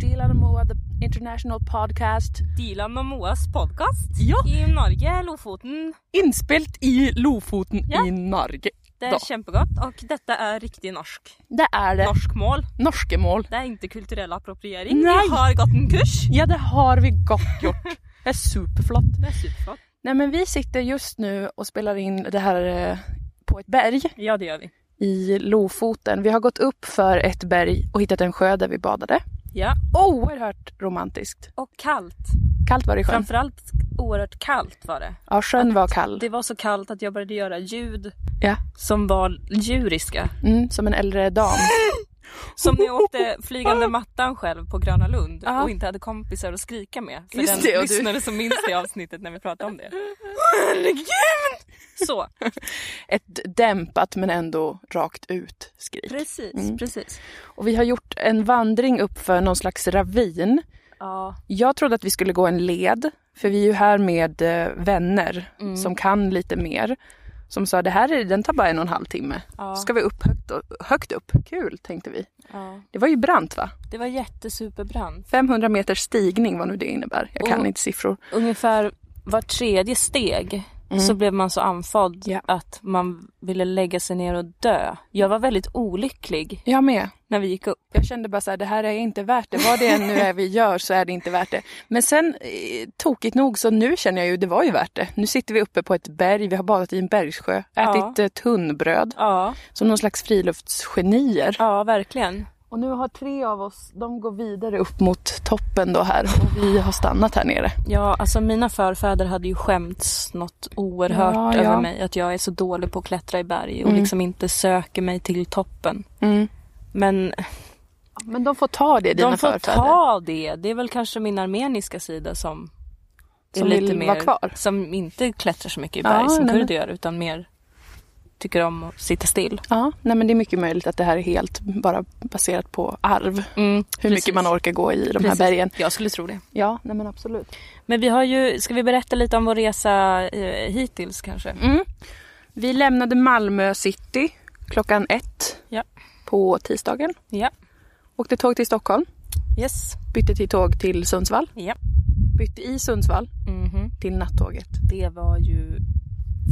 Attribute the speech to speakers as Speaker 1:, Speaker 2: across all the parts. Speaker 1: Dylan og Moa The International Podcast.
Speaker 2: Dylan og Moas podkast
Speaker 1: Ja.
Speaker 2: i Norge, Lofoten.
Speaker 1: Innspilt i Lofoten
Speaker 2: Ja.
Speaker 1: i Norge.
Speaker 2: Det er
Speaker 1: Da.
Speaker 2: kjempegodt. Og dette er riktig norsk.
Speaker 1: Det er det.
Speaker 2: Norsk mål.
Speaker 1: Norske mål.
Speaker 2: Det er interkulturell appropriering.
Speaker 1: Nei.
Speaker 2: Vi har gått en kurs.
Speaker 1: Ja, det har vi godt gjort. Det är superflott.
Speaker 2: Det er superflott.
Speaker 1: Nej, men vi sitter just nu och spelar in det här eh, på ett berg
Speaker 2: Ja, det gjør vi.
Speaker 1: i Lofoten. Vi har gått upp för ett berg och hittat en sjö där vi badade.
Speaker 2: Ja.
Speaker 1: Oerhört romantiskt.
Speaker 2: Og kaldt.
Speaker 1: Kallt var det i sjön.
Speaker 2: Framfor alt oerhört kaldt var det.
Speaker 1: Ja, sjön var kall.
Speaker 2: Det var så kallt att jag började göra ljud
Speaker 1: Ja.
Speaker 2: som var djuriska.
Speaker 1: Mm, som en äldre dam.
Speaker 2: Som när jag åkte flygande mattan själv på Gröna Lund
Speaker 1: Ja.
Speaker 2: och inte hade kompisar att skrika med. För
Speaker 1: Just
Speaker 2: den
Speaker 1: det, och du-
Speaker 2: lyssnare som minns det avsnittet när vi pratade om det. Så,
Speaker 1: Ett dämpat men ändå rakt ut skrik.
Speaker 2: precis, precis.
Speaker 1: Och vi har gjort en vandring upp för någon slags ravin.
Speaker 2: Ja,
Speaker 1: Jag trodde att vi skulle gå en led, för vi är ju här med eh, vänner
Speaker 2: Mm.
Speaker 1: som kan lite mer. Som sa, det här är, den tar bara en och en halv timme.
Speaker 2: Ja.
Speaker 1: Ska vi upp högt, högt upp? Kul, tänkte vi.
Speaker 2: ja.
Speaker 1: Det var ju brant va?
Speaker 2: Det var jättesuperbrant.
Speaker 1: 500 meters stigning, vad nu det innebär. Jag kan
Speaker 2: Och-
Speaker 1: inte siffror.
Speaker 2: Ungefär var tredje steg så blev man så andfådd
Speaker 1: Ja.
Speaker 2: att man ville lägga sig ner och dö. Jag var väldigt olycklig
Speaker 1: Jag med.
Speaker 2: när vi gick upp.
Speaker 1: Jag kände bara så här, det här är inte värt det. Vad det än nu är vi gör så är det inte värt det. Men sen, eh, tokigt nog, så nu känner jag ju, det var ju värt det. Nu sitter vi uppe på ett berg, vi har badat i en bergssjö, ätit eh, tunnbröd
Speaker 2: Ja,
Speaker 1: som någon slags friluftsgenier.
Speaker 2: ja verkligen.
Speaker 1: Och nu har tre av oss, de går vidare upp mot toppen då här och vi har stannat här nere.
Speaker 2: Ja, alltså mina förfäder hade ju skämts något oerhört
Speaker 1: Ja, ja.
Speaker 2: över mig. Att jag är så dålig på att klättra i berg och liksom inte söker mig till toppen. Men
Speaker 1: Men Mm. de får ta det, dina
Speaker 2: de får
Speaker 1: förfäder.
Speaker 2: ta det. Det är väl kanske min armeniska sida som,
Speaker 1: Som
Speaker 2: är
Speaker 1: vill vara kvar.
Speaker 2: Som inte klättrar så mycket i
Speaker 1: Ja,
Speaker 2: berg som
Speaker 1: nej, men-
Speaker 2: kurder gör utan mer tycker om att sitta still.
Speaker 1: Ja, nej men det är mycket möjligt att det här är helt bara baserat på arv.
Speaker 2: Mm,
Speaker 1: Hur mycket man orkar gå i de här bergen.
Speaker 2: Jag skulle tro det.
Speaker 1: Ja, nej men absolut.
Speaker 2: Men vi har ju, ska vi berätta lite om vår resa eh, hittills kanske?
Speaker 1: Mm. Vi lämnade Malmö city klockan ett
Speaker 2: Ja.
Speaker 1: på tisdagen.
Speaker 2: Ja.
Speaker 1: Åkte tåg till Stockholm,
Speaker 2: Yes.
Speaker 1: bytte till tåg till Sundsvall,
Speaker 2: Ja.
Speaker 1: bytte i Sundsvall
Speaker 2: Mhm.
Speaker 1: till nattåget.
Speaker 2: Det var ju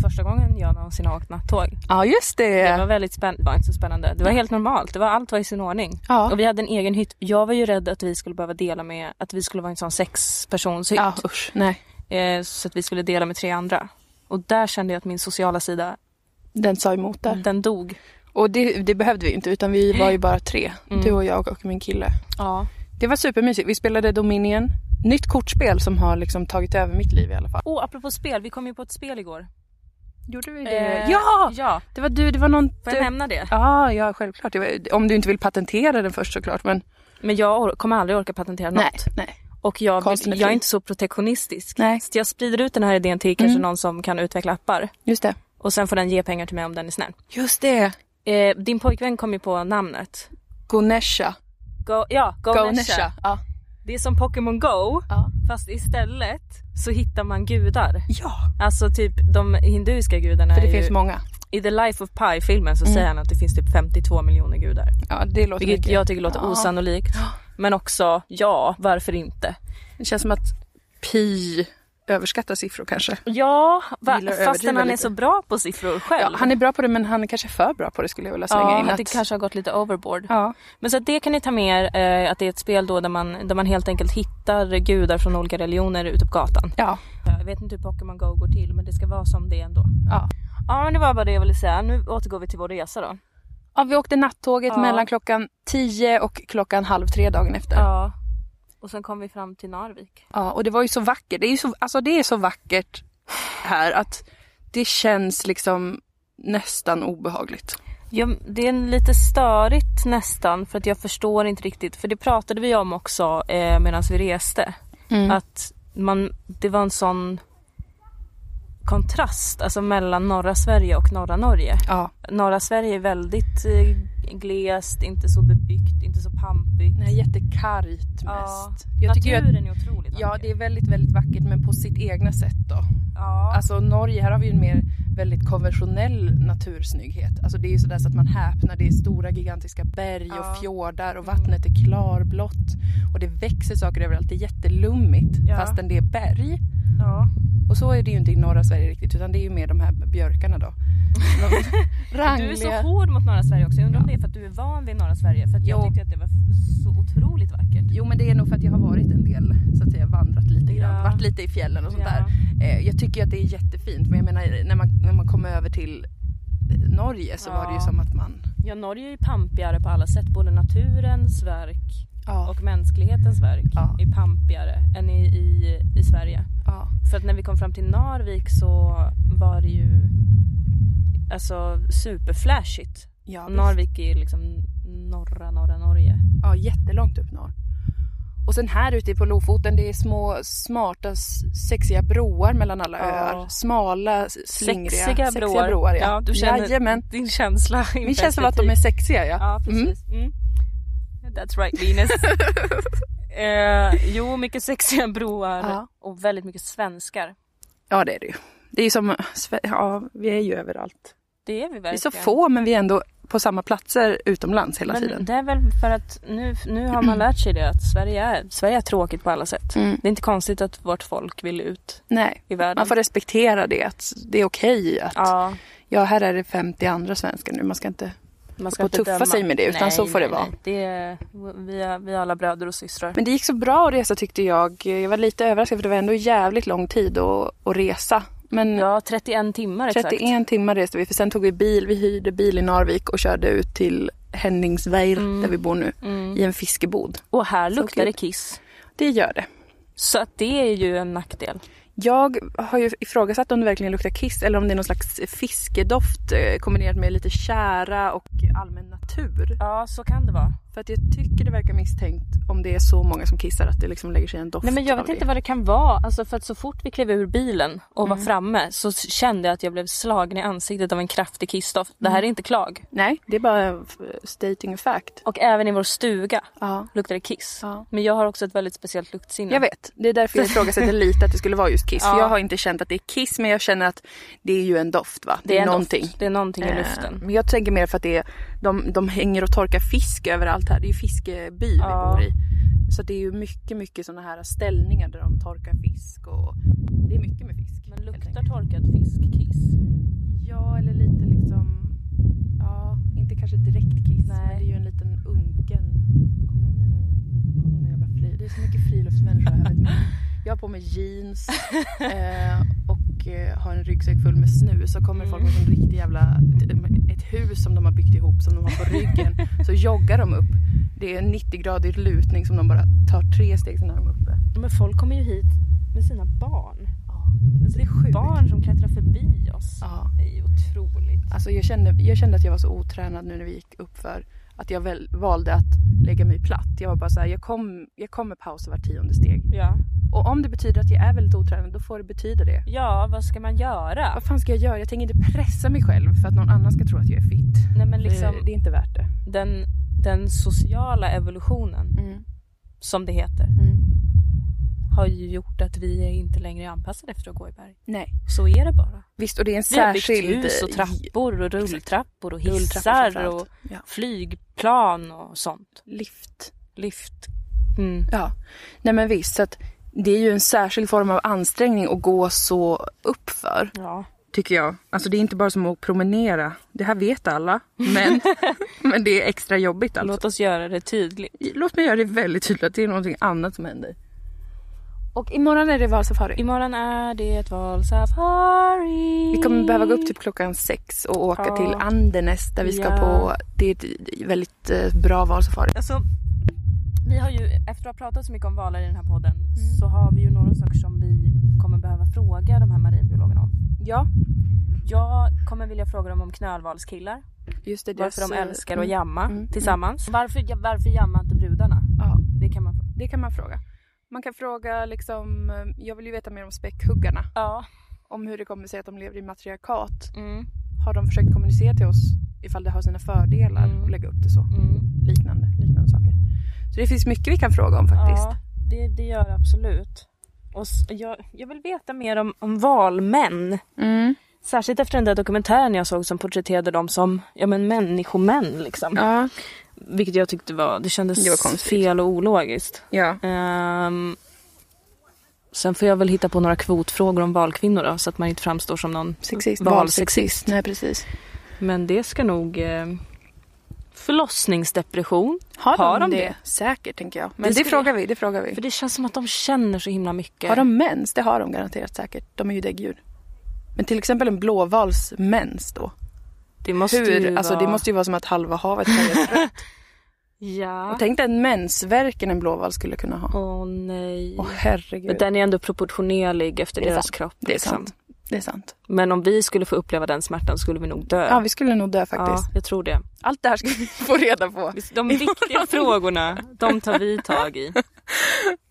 Speaker 2: första gången jag någonsin har åkt nattåg.
Speaker 1: Ja, just
Speaker 2: Det var väldigt spännande. Det var inte så spännande. Det var helt normalt. Det var, allt var i sin ordning.
Speaker 1: Ja.
Speaker 2: Och vi hade en egen hytt. Jag var ju rädd att vi skulle behöva dela med, att vi skulle vara en sån sexpersonshytt.
Speaker 1: Ja, usch, nej.
Speaker 2: Eh, så att vi skulle dela med tre andra. Och där kände jag att min sociala sida,
Speaker 1: Den sa emot där.
Speaker 2: den dog.
Speaker 1: Och det, det behövde vi inte utan vi var ju bara tre. Du och jag och min kille.
Speaker 2: Ja.
Speaker 1: Det var supermysigt. Vi spelade Dominion. Nytt kortspel som har liksom tagit över mitt liv i alla fall.
Speaker 2: Och apropå spel, vi kom ju på ett spel igår.
Speaker 1: Gjorde vi
Speaker 2: Eh,
Speaker 1: ja!
Speaker 2: Ja!
Speaker 1: Det var du, det var någon... typ-
Speaker 2: Får jag nämna det?
Speaker 1: Ja, ja självklart. Det var, om du inte vill patentera den först såklart. Men
Speaker 2: Men jag or- kommer aldrig orka patentera något.
Speaker 1: nej, nej.
Speaker 2: Och jag,
Speaker 1: Konsten är
Speaker 2: vill, jag är
Speaker 1: fri.
Speaker 2: inte så protektionistisk.
Speaker 1: Nej.
Speaker 2: Så jag sprider ut den här idén till
Speaker 1: Mm.
Speaker 2: kanske någon som kan utveckla appar.
Speaker 1: Just det.
Speaker 2: Och sen får den ge pengar till mig om den är snäll.
Speaker 1: Just det.
Speaker 2: Eh, din pojkvän kom ju på namnet.
Speaker 1: Gonesha.
Speaker 2: Go, ja, Gonesha.
Speaker 1: Gonesha. Ja.
Speaker 2: Det är som Pokémon Go,
Speaker 1: Ja.
Speaker 2: fast istället så hittar man gudar.
Speaker 1: ja.
Speaker 2: Alltså typ de hinduiska gudarna.
Speaker 1: För det
Speaker 2: är
Speaker 1: finns
Speaker 2: ju,
Speaker 1: många.
Speaker 2: I The Life of Pi filmen så säger han att det finns typ 52 miljoner gudar.
Speaker 1: Ja, det låter
Speaker 2: Vilket
Speaker 1: mycket.
Speaker 2: jag tycker låter osannolikt. Men också, ja, varför inte?
Speaker 1: Det känns som att pi överskattar siffror kanske.
Speaker 2: Ja, va,
Speaker 1: Gillar att
Speaker 2: fastän
Speaker 1: överdriva
Speaker 2: han är
Speaker 1: lite.
Speaker 2: så bra på siffror själv.
Speaker 1: Ja, han är bra på det men han är kanske för bra på det skulle jag vilja slänga
Speaker 2: Ja,
Speaker 1: in.
Speaker 2: att det kanske har gått lite overboard.
Speaker 1: Ja.
Speaker 2: Men så att det kan ni ta med er, eh, att det är ett spel då där man, där man helt enkelt hittar gudar från olika religioner ute på gatan.
Speaker 1: Ja.
Speaker 2: Jag vet inte hur Pokémon Go går till men det ska vara som det ändå.
Speaker 1: Ja.
Speaker 2: Ja men det var bara det jag ville säga. Nu återgår vi till vår resa då.
Speaker 1: Ja, vi åkte nattåget
Speaker 2: Ja.
Speaker 1: mellan klockan 10 och klockan halv tre dagen efter. Ja.
Speaker 2: Ja. Och sen kom vi fram till Narvik.
Speaker 1: och det var ju så vackert. Det är ju så, alltså det är så vackert här att det känns liksom nästan obehagligt.
Speaker 2: Jag, det är en lite störigt nästan för att jag förstår inte riktigt. För det pratade vi om också eh, medan vi reste.
Speaker 1: Mm.
Speaker 2: Att man, det var en sån kontrast alltså mellan norra Sverige och norra Norge.
Speaker 1: Ja,
Speaker 2: norra Sverige är väldigt eh, glest, inte så bebyggt, inte så pampigt.
Speaker 1: Nej, jättekargt
Speaker 2: Ja.
Speaker 1: mest. ju att-
Speaker 2: Naturen är otroligt
Speaker 1: Ja,
Speaker 2: vacker.
Speaker 1: det är väldigt, väldigt vackert men på sitt egna sätt då.
Speaker 2: ja.
Speaker 1: Alltså Norge, här har vi ju en mer väldigt konventionell natursnygghet. Alltså det är ju sådär så att man häpnar. Det är stora gigantiska berg
Speaker 2: Ja. Mm.
Speaker 1: och fjordar och vattnet är klarblått. Och det växer saker överallt. Det är jättelummigt
Speaker 2: Ja.
Speaker 1: fastän det är berg.
Speaker 2: ja.
Speaker 1: Och så är det ju inte i norra Sverige riktigt utan det är ju mer de här björkarna då. De
Speaker 2: Du är
Speaker 1: rangliga.
Speaker 2: så hård mot norra Sverige också. Jag undrar om det är för att du är van vid norra Sverige. För att jag
Speaker 1: Jo.
Speaker 2: tyckte att det var f- så otroligt vackert.
Speaker 1: Jo men det är nog för att jag har varit en del så att jag har vandrat lite grann.
Speaker 2: Ja.
Speaker 1: Varit lite i fjällen och sånt där. Eh, Jag tycker ju att det är jättefint men jag menar när man, när man kom över till eh, Norge så var det ju
Speaker 2: Ja.
Speaker 1: som att man...
Speaker 2: Ja, Norge är ju pampigare på alla sätt. Både naturens verk
Speaker 1: Ja.
Speaker 2: och mänsklighetens verk
Speaker 1: Ja.
Speaker 2: är pampigare än i, i, i Sverige.
Speaker 1: ja.
Speaker 2: För att när vi kom fram till Narvik så var det ju alltså superflashigt.
Speaker 1: Ja,
Speaker 2: Och
Speaker 1: visst.
Speaker 2: Narvik är ju liksom norra, norra Norge.
Speaker 1: ja, jättelångt upp norr. Och sen här ute på Lofoten det är små smarta s- sexiga broar mellan alla
Speaker 2: Ja.
Speaker 1: öar. Smala, s- slingriga,
Speaker 2: Sexiga broar.
Speaker 1: ja.
Speaker 2: du känner
Speaker 1: Jajamän.
Speaker 2: din känsla.
Speaker 1: Min känsla var att de är sexiga ja.
Speaker 2: Ja, precis. Mm. That's right Venus. eh, jo, mycket sexiga broar
Speaker 1: Ja.
Speaker 2: och väldigt mycket svenskar.
Speaker 1: ja det är det ju. Det är ju som, Sve- ja vi är ju överallt.
Speaker 2: Det är vi verkligen.
Speaker 1: Vi är så få men vi är ändå på samma platser utomlands hela
Speaker 2: Men
Speaker 1: tiden.
Speaker 2: det är väl för att nu, nu har man lärt sig det att Sverige är, Sverige är tråkigt på alla sätt.
Speaker 1: Mm.
Speaker 2: Det är inte konstigt att vårt folk vill ut
Speaker 1: Nej,
Speaker 2: i världen.
Speaker 1: man får respektera det. Att det är okej att ja.
Speaker 2: ja,
Speaker 1: här är det 50 andra svenskar nu. Man ska inte...
Speaker 2: man ska
Speaker 1: Och
Speaker 2: inte
Speaker 1: tuffa
Speaker 2: döma.
Speaker 1: sig med det, utan
Speaker 2: nej,
Speaker 1: så får det
Speaker 2: nej,
Speaker 1: vara.
Speaker 2: Nej. Det är, vi, är, vi är alla bröder och systrar.
Speaker 1: Men det gick så bra att resa tyckte jag. Jag var lite överraskad för det var ändå jävligt lång tid att, att resa. Men
Speaker 2: Ja, 31 timmar exakt.
Speaker 1: 31 timmar reste vi för sen tog vi bil. Vi hyrde bil i Narvik och körde ut till Henningsveir där vi bor nu i en fiskebod.
Speaker 2: Mm. Och här luktar det
Speaker 1: gud.
Speaker 2: kiss.
Speaker 1: Det gör det.
Speaker 2: Så att det är ju en nackdel.
Speaker 1: Jag har ju ifrågasatt om det verkligen luktar kiss eller om det är någon slags fiskedoft eh, kombinerat med lite kära och allmän natur.
Speaker 2: Ja, så kan det vara.
Speaker 1: För att jag tycker det verkar misstänkt om det är så många som kissar att det liksom lägger sig en doft
Speaker 2: Nej men jag vet
Speaker 1: av
Speaker 2: inte
Speaker 1: det.
Speaker 2: vad det Mm. kan vara. Alltså för att så fort vi klev ur bilen och var framme så kände jag att jag blev slagen i ansiktet av en kraftig kissdoft. Det här är inte klag.
Speaker 1: Nej, det är bara f- stating a fact.
Speaker 2: Och även i vår stuga
Speaker 1: Ja.
Speaker 2: luktade det kiss.
Speaker 1: Ja.
Speaker 2: Men jag har också ett väldigt speciellt luktsinne.
Speaker 1: Jag vet, det är därför jag ifrågasätter lite att det skulle vara just kiss.
Speaker 2: Ja.
Speaker 1: För jag har inte känt att det är kiss men jag känner att det är ju en doft va?
Speaker 2: det är en
Speaker 1: någonting.
Speaker 2: Doft. Det är någonting i
Speaker 1: Eh,
Speaker 2: luften.
Speaker 1: Men jag tänker mer för att det är, de, de hänger och torkar fisk överallt här. Det är ju fiskeby
Speaker 2: Ja.
Speaker 1: vi bor i. Så det är ju mycket, mycket sådana här ställningar där de torkar fisk och det är mycket med fisk.
Speaker 2: Men
Speaker 1: helt
Speaker 2: luktar
Speaker 1: enkelt.
Speaker 2: torkad fisk kiss?
Speaker 1: Ja, eller lite liksom... Ja, inte kanske direkt kiss,
Speaker 2: Nej.
Speaker 1: men det är ju en liten unken... Kommer det nu kommer det någon jävla fri... Det är så mycket friluftsmänniskor här. vet ni. Jag har på mig jeans eh, och eh, har en ryggsäck full med snus. Så kommer folk med en riktig jävla... Ett hus som de har byggt ihop som de har på ryggen. Så joggar de upp. Det är en 90-gradig lutning som de bara tar tre steg sen är de uppe.
Speaker 2: Men folk kommer ju hit med sina barn.
Speaker 1: Ja,
Speaker 2: Alltså det är
Speaker 1: sjukt.
Speaker 2: barn som klättrar förbi oss.
Speaker 1: Ja.
Speaker 2: Det är ju otroligt.
Speaker 1: Alltså jag, kände, jag kände att jag var så otränad nu när vi gick upp för att jag väl, valde att lägga mig platt. Jag var bara så här, jag, kom, jag kommer pausa var tionde steg.
Speaker 2: Ja.
Speaker 1: Och om det betyder att jag är väldigt otränad, då får det betyda det.
Speaker 2: ja, vad ska man göra?
Speaker 1: Vad fan ska jag göra? Jag tänker inte pressa mig själv för att någon annan ska tro att jag är fit.
Speaker 2: Nej men
Speaker 1: Liksom,
Speaker 2: liksom
Speaker 1: det är inte värt det.
Speaker 2: den, den sociala evolutionen som det heter har ju gjort att vi är inte längre anpassade efter att gå i berg.
Speaker 1: Nej.
Speaker 2: Så är det bara.
Speaker 1: Visst, och det är en
Speaker 2: Vi har byggt
Speaker 1: särskild...
Speaker 2: hus och trappor och rulltrappor och
Speaker 1: eh, Rulltrappor
Speaker 2: hissar
Speaker 1: framförallt.
Speaker 2: och
Speaker 1: Ja.
Speaker 2: flygplan och sånt.
Speaker 1: Lift.
Speaker 2: Lift. Mm.
Speaker 1: Ja. Nej men visst, så att det är ju en särskild form av ansträngning att gå så uppför.
Speaker 2: Ja.
Speaker 1: tycker jag. Alltså det är inte bara som att promenera. Det här vet alla, men, men det är extra jobbigt alltså.
Speaker 2: Låt oss göra det tydligt.
Speaker 1: Låt, mig göra det väldigt tydligt att det är någonting annat som händer. Och imorgon är det valsafari.
Speaker 2: Imorgon är det ett valsafari.
Speaker 1: Vi kommer behöva gå upp typ klockan sex och åka
Speaker 2: Ja.
Speaker 1: till Andenes där vi ska
Speaker 2: Ja.
Speaker 1: på... Det är ett väldigt eh, bra valsafari.
Speaker 2: Alltså, vi har ju, efter att ha pratat så mycket om valar i den här podden
Speaker 1: Mm.
Speaker 2: så har vi ju några saker som vi kommer behöva fråga de här marinbiologerna om.
Speaker 1: Ja,
Speaker 2: Jag kommer vilja fråga dem om knölvalskillar.
Speaker 1: just det.
Speaker 2: Varför
Speaker 1: deras,
Speaker 2: de
Speaker 1: eh,
Speaker 2: älskar att
Speaker 1: mm,
Speaker 2: jamma
Speaker 1: mm, mm.
Speaker 2: tillsammans. Varför, ja, varför jammar inte brudarna?
Speaker 1: Ja,
Speaker 2: Det kan man fråga.
Speaker 1: det kan man fråga. Man kan fråga liksom... eh, Jag vill ju veta mer om späckhuggarna.
Speaker 2: Ja.
Speaker 1: Om hur det kommer sig att de lever i matriarkat.
Speaker 2: Mm.
Speaker 1: Har de försökt kommunicera till oss ifall det har sina fördelar
Speaker 2: Mm.
Speaker 1: att lägga upp det så.
Speaker 2: Mm.
Speaker 1: Liknande, liknande saker. Så det finns mycket vi kan fråga om faktiskt.
Speaker 2: Ja, det, det gör det absolut. Och s- jag, jag vill veta mer om, om valmän.
Speaker 1: Mm.
Speaker 2: Särskilt efter den där dokumentären jag såg som porträtterade dem som ja, men människomän. Liksom.
Speaker 1: Ja,
Speaker 2: Vilket jag tyckte var, det kändes
Speaker 1: Det var konstigt.
Speaker 2: fel och ologiskt.
Speaker 1: ja.
Speaker 2: Ehm, sen får jag väl hitta på några kvotfrågor om valkvinnor då, så att man inte framstår som någon.
Speaker 1: Sexist.
Speaker 2: Valsexist.
Speaker 1: Nej, precis.
Speaker 2: Men det ska nog... Eh, förlossningsdepression.
Speaker 1: Har,
Speaker 2: Har
Speaker 1: de
Speaker 2: de
Speaker 1: det? Säkert, tänker jag. Men
Speaker 2: Det
Speaker 1: det,
Speaker 2: skulle-
Speaker 1: frågar vi. Det frågar vi.
Speaker 2: För det känns som att de känner så himla mycket.
Speaker 1: Har de mens? Det har de garanterat säkert. De är ju däggdjur. Men till exempel en blåvals mens då?
Speaker 2: det måste
Speaker 1: Hur?
Speaker 2: ju
Speaker 1: Alltså
Speaker 2: vara...
Speaker 1: det måste ju vara som att halva havet är rött.
Speaker 2: Ja.
Speaker 1: Och Tänk dig en mensvärken en blåvals skulle kunna ha. Åh
Speaker 2: Åh nej.
Speaker 1: herregud.
Speaker 2: Men den är ändå proportionerlig efter
Speaker 1: Det är
Speaker 2: deras
Speaker 1: sant.
Speaker 2: kropp.
Speaker 1: Det är
Speaker 2: liksom.
Speaker 1: sant. Det är sant.
Speaker 2: Men om vi skulle få uppleva den smärtan skulle vi nog dö.
Speaker 1: Ja, vi skulle nog dö faktiskt.
Speaker 2: Ja, jag tror det.
Speaker 1: Allt det här ska vi få reda på.
Speaker 2: De viktiga frågorna, de tar vi tag i.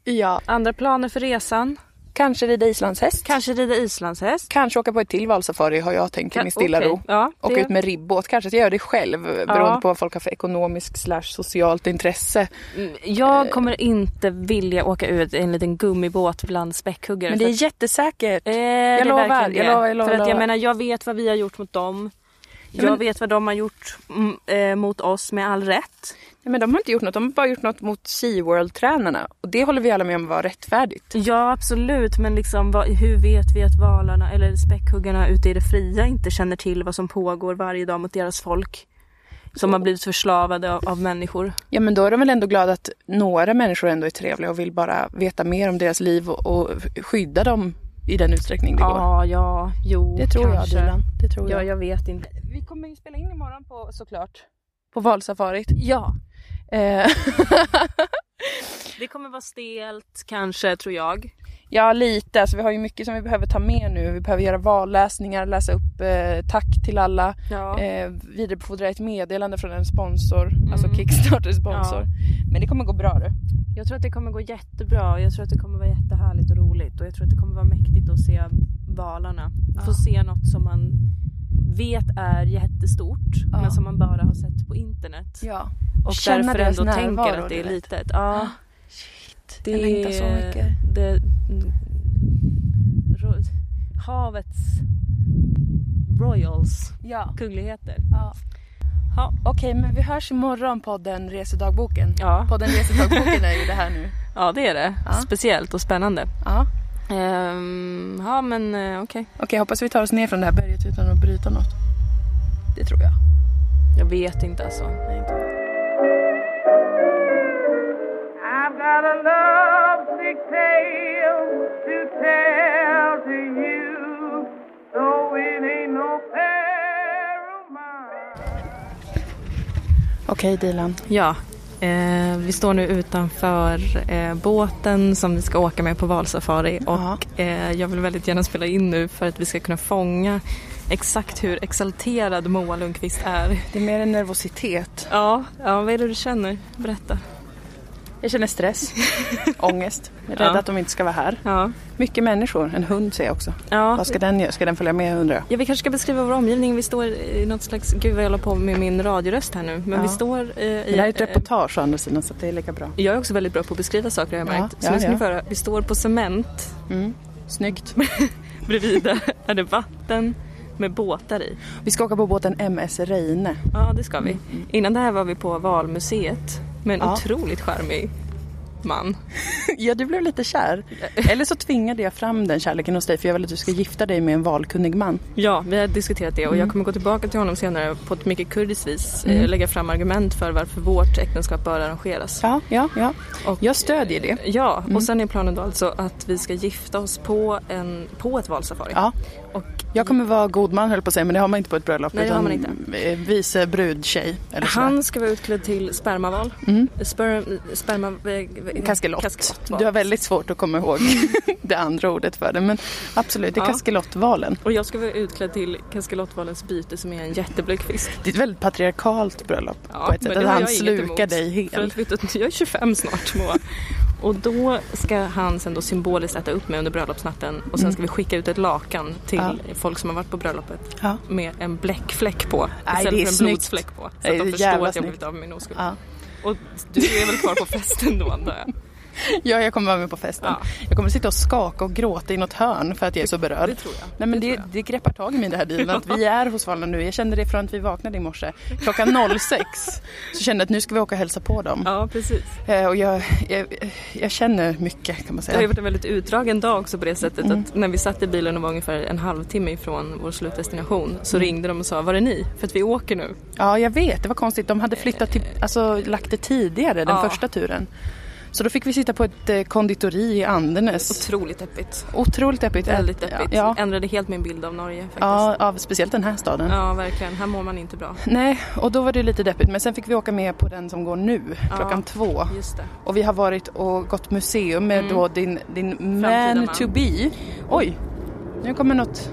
Speaker 1: Ja.
Speaker 2: Andra planer för resan?
Speaker 1: Kanske rida islandshäst.
Speaker 2: Kanske rida islandshäst?
Speaker 1: Kanske åka på ett till valsafari har jag tänkt i min stilla
Speaker 2: Okej,
Speaker 1: ro.
Speaker 2: Ja,
Speaker 1: Åka
Speaker 2: det,
Speaker 1: ut med ribbåt. Kanske att jag gör det själv beroende på vad folk har för ekonomisk slash socialt intresse.
Speaker 2: Mm,
Speaker 1: Eh.
Speaker 2: jag kommer inte vilja åka ut i en liten gummibåt bland späckhuggare.
Speaker 1: Men det
Speaker 2: för
Speaker 1: är jättesäkert.
Speaker 2: att- eh, det är
Speaker 1: lovar,
Speaker 2: verkligen
Speaker 1: jag
Speaker 2: det.
Speaker 1: lovar, jag lovar,
Speaker 2: För att jag
Speaker 1: lovar.
Speaker 2: menar, jag vet vad vi har gjort mot dem.
Speaker 1: Ja,
Speaker 2: Jag
Speaker 1: men-
Speaker 2: vet vad de har gjort mm, eh, mot oss med all rätt.
Speaker 1: Nej, men de har inte gjort något. De har bara gjort något mot Sea World-tränarna. Och det håller vi alla med om var rättfärdigt.
Speaker 2: Ja absolut men liksom vad, hur vet vi att valarna eller späckhuggarna ute i det fria inte känner till vad som pågår varje dag mot deras folk? Som har blivit förslavade av, av människor.
Speaker 1: Ja, men då är de väl ändå glada att några människor ändå är trevliga och vill bara veta mer om deras liv och, och skydda dem i den utsträckning det går.
Speaker 2: Ja, ja, jo,
Speaker 1: Det tror
Speaker 2: kanske.
Speaker 1: jag, Dylan. Det tror
Speaker 2: Ja,
Speaker 1: jag.
Speaker 2: jag vet inte.
Speaker 1: Vi kommer ju spela in imorgon på, såklart. På valsafarit.
Speaker 2: Ja,
Speaker 1: Eh,
Speaker 2: det kommer vara stelt kanske tror jag.
Speaker 1: ja, lite. Så vi har ju mycket som vi behöver ta med nu. Vi behöver göra valläsningar, läsa upp eh, tack till alla.
Speaker 2: Ja.
Speaker 1: Eh, vidarebefordra ett meddelande från en sponsor, alltså Kickstarter-sponsor.
Speaker 2: Ja.
Speaker 1: Men det kommer gå bra du.
Speaker 2: Jag tror att det kommer gå jättebra. Jag tror att det kommer vara jättehärligt och roligt och jag tror att det kommer vara mäktigt att se valarna. Få
Speaker 1: Ja.
Speaker 2: se något som man vet är jättestort
Speaker 1: Ja.
Speaker 2: men som man bara har sett på internet.
Speaker 1: Ja.
Speaker 2: Och
Speaker 1: Känna
Speaker 2: därför
Speaker 1: deras
Speaker 2: ändå
Speaker 1: närvaro,
Speaker 2: tänker att det
Speaker 1: du
Speaker 2: är
Speaker 1: vet.
Speaker 2: litet. Ja. Det
Speaker 1: jag längtar så
Speaker 2: är-
Speaker 1: mycket.
Speaker 2: Det, mm, ro, havets royals,
Speaker 1: ja.
Speaker 2: kungligheter.
Speaker 1: ja.
Speaker 2: Ja.
Speaker 1: Okej, men vi hörs imorgon podden Resedagboken.
Speaker 2: Ja.
Speaker 1: Podden Resedagboken är ju det här nu.
Speaker 2: ja, det är det.
Speaker 1: Ja.
Speaker 2: Speciellt och spännande.
Speaker 1: Ja.
Speaker 2: Ehm, ja, men eh, okej.
Speaker 1: Okej, hoppas vi tar oss ner från det här berget utan att bryta något. Det tror jag.
Speaker 2: Jag vet inte alltså.
Speaker 3: I've got a love sick tale to tell to you, though it ain't no fair of mine.
Speaker 1: Okej Dilan.
Speaker 2: Ja, eh, vi står nu utanför eh, båten som vi ska åka med på valsafari och eh, jag vill väldigt gärna spela in nu för att vi ska kunna fånga exakt hur exalterad Moa Lundqvist är.
Speaker 1: Det är mer en nervositet.
Speaker 2: Ja, ja vad är det du känner? Berätta.
Speaker 1: Jag känner stress, ångest, Jag är rädd
Speaker 2: Ja.
Speaker 1: att de inte ska vara här.
Speaker 2: Ja.
Speaker 1: Mycket människor, en hund ser jag också.
Speaker 2: Ja.
Speaker 1: Vad ska den göra? Ska den följa med undrar jag?
Speaker 2: ja, vi kanske ska beskriva vår omgivning. Vi står i något slags, gud vad jag håller på med min radioröst här nu. Men
Speaker 1: Ja.
Speaker 2: vi står eh, i...
Speaker 1: Det här är typ- ett
Speaker 2: eh,
Speaker 1: reportage å andra sidan så att det är lika bra.
Speaker 2: jag är också väldigt bra på att beskriva saker har jag
Speaker 1: Ja,
Speaker 2: märkt. Så
Speaker 1: ja,
Speaker 2: nu ska
Speaker 1: ja.
Speaker 2: ni få höra. Vi står på cement
Speaker 1: Mm. Snyggt.
Speaker 2: Bredvid där är det vatten med båtar i.
Speaker 1: Vi ska åka på båten MS Reine.
Speaker 2: Ja, det ska vi. Innan det här var vi på Valmuseet med
Speaker 1: Mm,
Speaker 2: en
Speaker 1: Ja.
Speaker 2: otroligt charmig man.
Speaker 1: Ja, du blev lite kär. Eller så tvingade jag fram den kärleken hos dig för jag ville att du ska gifta dig med en valkunnig man.
Speaker 2: Ja, vi har diskuterat det och
Speaker 1: Mm.
Speaker 2: jag kommer gå tillbaka till honom senare på ett mycket kurdiskt vis. eh, Lägga fram argument för varför vårt äktenskap bör arrangeras.
Speaker 1: Ja, Mm. ja, ja.
Speaker 2: Och-
Speaker 1: jag stödjer det.
Speaker 2: Ja, och sen är planen då alltså att vi ska gifta oss på, en, på ett valsafari.
Speaker 1: Ja.
Speaker 2: Och
Speaker 1: Jag kommer vara god man höll på att säga, men det har man inte på ett bröllop.
Speaker 2: Nej, det har man
Speaker 1: inte. Vice brudtjej eller sådär.
Speaker 2: han ska vara utklädd till spermaval. Sperm, sperma... eh,
Speaker 1: Mm. Kaskelott.
Speaker 2: kaskelottval.
Speaker 1: Du har väldigt svårt att komma ihåg det andra ordet för det, men absolut, det är
Speaker 2: Ja.
Speaker 1: kaskelottvalen.
Speaker 2: Och jag ska vara utklädd till Kaskelotvalens byte som är en jätteblek fisk.
Speaker 1: Det är ett väldigt patriarkalt bröllop på ett sätt.
Speaker 2: men det
Speaker 1: Att
Speaker 2: har
Speaker 1: han
Speaker 2: jag inget
Speaker 1: slukar
Speaker 2: emot.
Speaker 1: dig
Speaker 2: För
Speaker 1: hel.
Speaker 2: att, vet du, jag är 25 snart Moa. Och då ska han sen då symboliskt äta upp mig under bröllopsnatten och sen ska vi skicka ut ett lakan till
Speaker 1: Mm. Ja.
Speaker 2: folk som har varit på bröllopet
Speaker 1: Ja.
Speaker 2: med en bläckfläck på
Speaker 1: Nej,
Speaker 2: istället
Speaker 1: det är
Speaker 2: för en
Speaker 1: snyggt.
Speaker 2: blodsfläck på. Så
Speaker 1: Det är
Speaker 2: att
Speaker 1: jävla
Speaker 2: de förstår att jag
Speaker 1: snyggt.
Speaker 2: blivit av med min oskuld.
Speaker 1: Ja.
Speaker 2: Och du är väl kvar på festen då antar jag?
Speaker 1: Ja, jag kommer vara med på festen.
Speaker 2: Ja.
Speaker 1: Jag kommer sitta och skaka och gråta i något hörn för att jag är så berörd.
Speaker 2: det tror jag.
Speaker 1: Nej, men
Speaker 2: Det
Speaker 1: det, det,
Speaker 2: tror
Speaker 1: greppar tag i mig det här livet. Vi är hos varandra nu. Jag kände det från att vi vaknade i morse. Klockan 06 så kände jag att nu ska vi åka och hälsa på dem.
Speaker 2: Ja precis.
Speaker 1: Eh, Och jag, jag, jag känner mycket kan man
Speaker 2: Det har
Speaker 1: säga.
Speaker 2: ju varit en väldigt utdragen dag också på det sättet
Speaker 1: Mm.
Speaker 2: att när vi satt i bilen och var ungefär en halvtimme ifrån vår slutdestination så
Speaker 1: Mm.
Speaker 2: ringde de och sa var är ni? För att vi åker nu.
Speaker 1: Ja, jag vet. Det var konstigt. De hade flyttat till, alltså lagt det tidigare, den
Speaker 2: Eh. Ja.
Speaker 1: första turen. Så då fick vi sitta på ett eh, konditori i Andenäs.
Speaker 2: Otroligt deppigt.
Speaker 1: Otroligt deppigt.
Speaker 2: Väldigt deppigt.
Speaker 1: Ja, ja.
Speaker 2: Ändrade helt min bild av Norge faktiskt.
Speaker 1: ja av speciellt den här staden.
Speaker 2: Ja, verkligen. Här mår man inte bra.
Speaker 1: Nej, och då var det lite deppigt. Men sen fick vi åka med på den som går nu, klockan två.
Speaker 2: Just det.
Speaker 1: Och vi har varit och gått museum med då din, din man,
Speaker 2: Mm. man.
Speaker 1: to be. Oj, nu kommer något.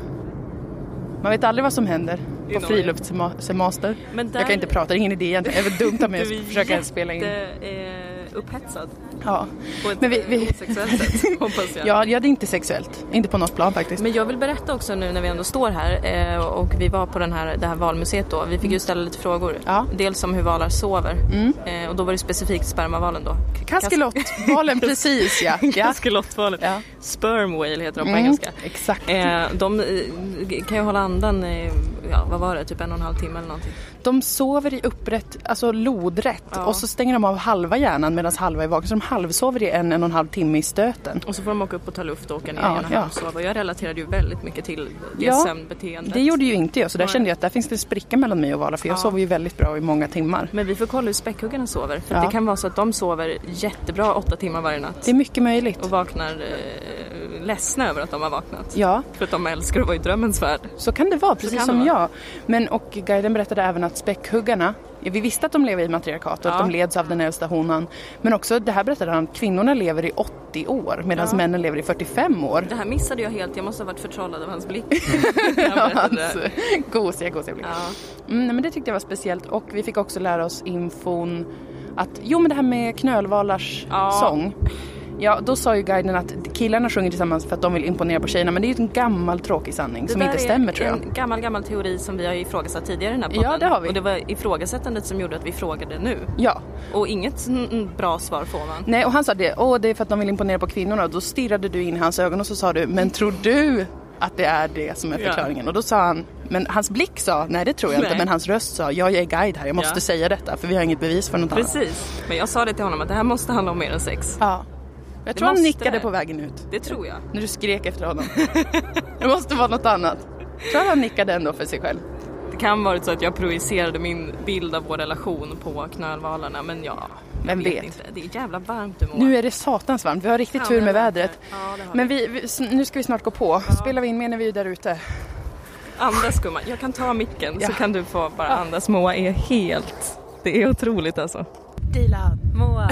Speaker 1: Man vet aldrig vad som händer på
Speaker 2: Norge.
Speaker 1: friluftssemester.
Speaker 2: Men där-
Speaker 1: Jag kan inte prata, det är ingen idé egentligen. Det är väl dumt av mig
Speaker 2: Du är
Speaker 1: att försöka spela in.
Speaker 2: jätte, eh, upphetsad
Speaker 1: Ja.
Speaker 2: på ett
Speaker 1: Men vi-
Speaker 2: eh,
Speaker 1: vi-
Speaker 2: osexuellt sätt, hoppas jag.
Speaker 1: Ja, ja, det är inte sexuellt. Inte på något plan faktiskt.
Speaker 2: Men jag vill berätta också nu när vi ändå står här eh, och vi var på den här, det här valmuseet då. Vi fick ju ställa lite frågor.
Speaker 1: Mm. Ja. Mm.
Speaker 2: Dels om hur valar sover. Eh, och då var det specifikt spermavalen då.
Speaker 1: Kaskelottvalen, precis ja. ja.
Speaker 2: Kaskelottvalen.
Speaker 1: Ja.
Speaker 2: Sperm whale heter de på
Speaker 1: Mm,
Speaker 2: engelska.
Speaker 1: exakt.
Speaker 2: Eh, de eh, kan ju hålla andan, eh, ja, vad var det, typ en och en halv timme eller någonting.
Speaker 1: De sover i upprätt, alltså lodrätt
Speaker 2: Ja.
Speaker 1: och så stänger de av halva hjärnan medan halva är vaken. Så de halvsover i en, en och en halv timme i stöten.
Speaker 2: Och så får de åka upp och ta luft och åka ner
Speaker 1: Ja,
Speaker 2: igen och
Speaker 1: ja.
Speaker 2: halvsova. Jag relaterade ju väldigt mycket till det
Speaker 1: Ja,
Speaker 2: sömnbeteendet.
Speaker 1: Det gjorde ju inte jag så där
Speaker 2: Nej.
Speaker 1: kände jag att där finns det en spricka mellan mig och Vala för jag sover ju väldigt bra i många timmar.
Speaker 2: Men vi får kolla hur späckhuggarna sover. För
Speaker 1: Ja.
Speaker 2: det kan vara så att de sover jättebra åtta timmar varje natt
Speaker 1: Det är mycket möjligt.
Speaker 2: och vaknar eh, ledsna över att de har vaknat.
Speaker 1: Ja,
Speaker 2: För att de älskar att vara i drömmens värld.
Speaker 1: så kan det vara, precis
Speaker 2: kan
Speaker 1: som
Speaker 2: det vara.
Speaker 1: jag. Men och guiden berättade även att späckhuggarna, ja, vi visste att de lever i matriarkat och att
Speaker 2: Ja.
Speaker 1: de leds av den äldsta honan. Men också, det här berättade han, att kvinnorna lever i 80 år medan männen lever i 45 år.
Speaker 2: Det här missade jag helt, jag måste ha varit förtrollad av hans blick. när han berättade det.
Speaker 1: Hans gosiga, gosiga blick.
Speaker 2: Ja.
Speaker 1: Mm, nej, men det tyckte jag var speciellt och vi fick också lära oss infon att, jo men det här med knölvalars
Speaker 2: Ja.
Speaker 1: sång. Ja, då sa ju guiden att killarna sjunger tillsammans för att de vill imponera på tjejerna men det är ju en gammal tråkig sanning
Speaker 2: Det
Speaker 1: som
Speaker 2: där
Speaker 1: inte
Speaker 2: är
Speaker 1: stämmer tror jag.
Speaker 2: en gammal, gammal teori som vi har ifrågasatt tidigare i den här podden.
Speaker 1: Ja, det har vi.
Speaker 2: Och det var ifrågasättandet som gjorde att vi frågade nu.
Speaker 1: Ja.
Speaker 2: Och inget mm, mm, bra svar får man.
Speaker 1: Nej, och han sa det, åh det är för att de vill imponera på kvinnorna och då stirrade du in i hans ögon och så sa du, men tror du att det är det som är
Speaker 2: Ja.
Speaker 1: förklaringen? Och då sa han, men hans blick sa, nej det tror jag
Speaker 2: Nej.
Speaker 1: inte, men hans röst sa, ja jag är guide här, jag måste
Speaker 2: Ja.
Speaker 1: säga detta för vi har inget bevis för något annat.
Speaker 2: Precis, men jag sa det till honom att det här måste handla om mer än sex.
Speaker 1: Ja. Jag tror han
Speaker 2: måste
Speaker 1: nickade
Speaker 2: det.
Speaker 1: på vägen ut.
Speaker 2: Det tror jag.
Speaker 1: När du skrek efter honom. Det måste vara något annat. Tror han nickade ändå för sig själv.
Speaker 2: Det kan varit så att jag projicerade min bild av vår relation på knölvalarna men ja, jag
Speaker 1: Vem vet?
Speaker 2: inte. Det är jävla varmt du mår.
Speaker 1: Nu är det satans varmt. Vi har riktigt
Speaker 2: Fan,
Speaker 1: tur med
Speaker 2: det har
Speaker 1: vädret.
Speaker 2: vi. Ja, det har vi.
Speaker 1: Men vi, vi, s- nu ska vi snart gå på. Spelar vi in mer när vi är där ute?
Speaker 2: Andas gumman, jag kan ta micken
Speaker 1: Ja.
Speaker 2: så kan du få bara andas. Moa är helt... Det är otroligt alltså.
Speaker 4: Dilan,
Speaker 2: Moa,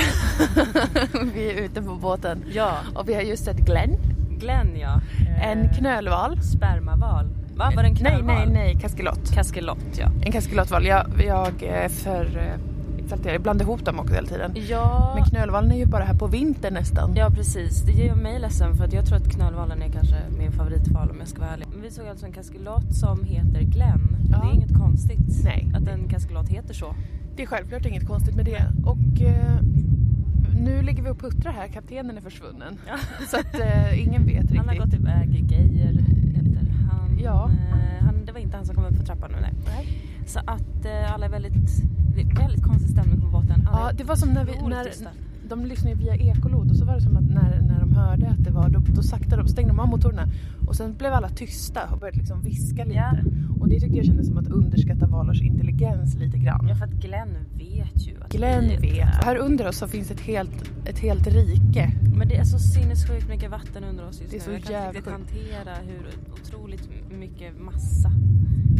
Speaker 4: vi är ute på båten
Speaker 2: ja.
Speaker 4: och vi har just sett Glenn,
Speaker 2: Glenn ja.
Speaker 4: en knölval.
Speaker 2: Spermaval. Va, var det en
Speaker 4: Nej,
Speaker 2: knölval?
Speaker 4: nej, nej, kaskelot.
Speaker 2: Kaskelott ja.
Speaker 1: En kaskelotval. Jag, jag eh, för... eh, exalterar- Jag blandar ihop dem också hela tiden.
Speaker 4: Ja,
Speaker 1: Men knölvalen är ju bara här på vintern nästan.
Speaker 4: Ja,
Speaker 5: Precis, det gör mig ledsen för att jag tror att knölvalen är kanske min favoritval om jag ska vara ärlig. Men vi såg alltså en kaskelot som heter Glenn.
Speaker 1: Ja.
Speaker 5: Det är inget konstigt
Speaker 1: Nej.
Speaker 5: att en kaskelot heter så.
Speaker 1: Det är självklart inget konstigt med det. Och eh, nu ligger vi och puttrar här. Kaptenen är försvunnen. Så att eh, ingen vet riktigt.
Speaker 5: Han har gått iväg, Geijer heter han.
Speaker 1: Ja.
Speaker 5: Eh, han. Det var inte han som kom upp för trappan nu nej. Så att eh, alla är väldigt, det är väldigt konstig stämning på båten. Alla
Speaker 1: Ja,
Speaker 5: är
Speaker 1: det var som när, vi,
Speaker 5: otroligt
Speaker 1: när
Speaker 5: tysta.
Speaker 1: de lyssnade via ekolod och så var det som att när, när de hörde att det var, då, då saktade de, stängde de av motorerna och sen blev alla tysta och började liksom viska lite.
Speaker 5: Ja.
Speaker 1: Och det tyckte jag kändes som att underskatta valars intelligens lite grann.
Speaker 5: Ja för att Glenn vet ju att
Speaker 1: Glenn
Speaker 5: vi är
Speaker 1: vet. Här under oss så finns ett helt, ett helt rike.
Speaker 5: Men det är så sinnessjukt mycket vatten under oss just
Speaker 1: Det är så
Speaker 5: nu. Jag kan inte
Speaker 1: jävla
Speaker 5: riktigt
Speaker 1: sjukt.
Speaker 5: hantera hur otroligt mycket massa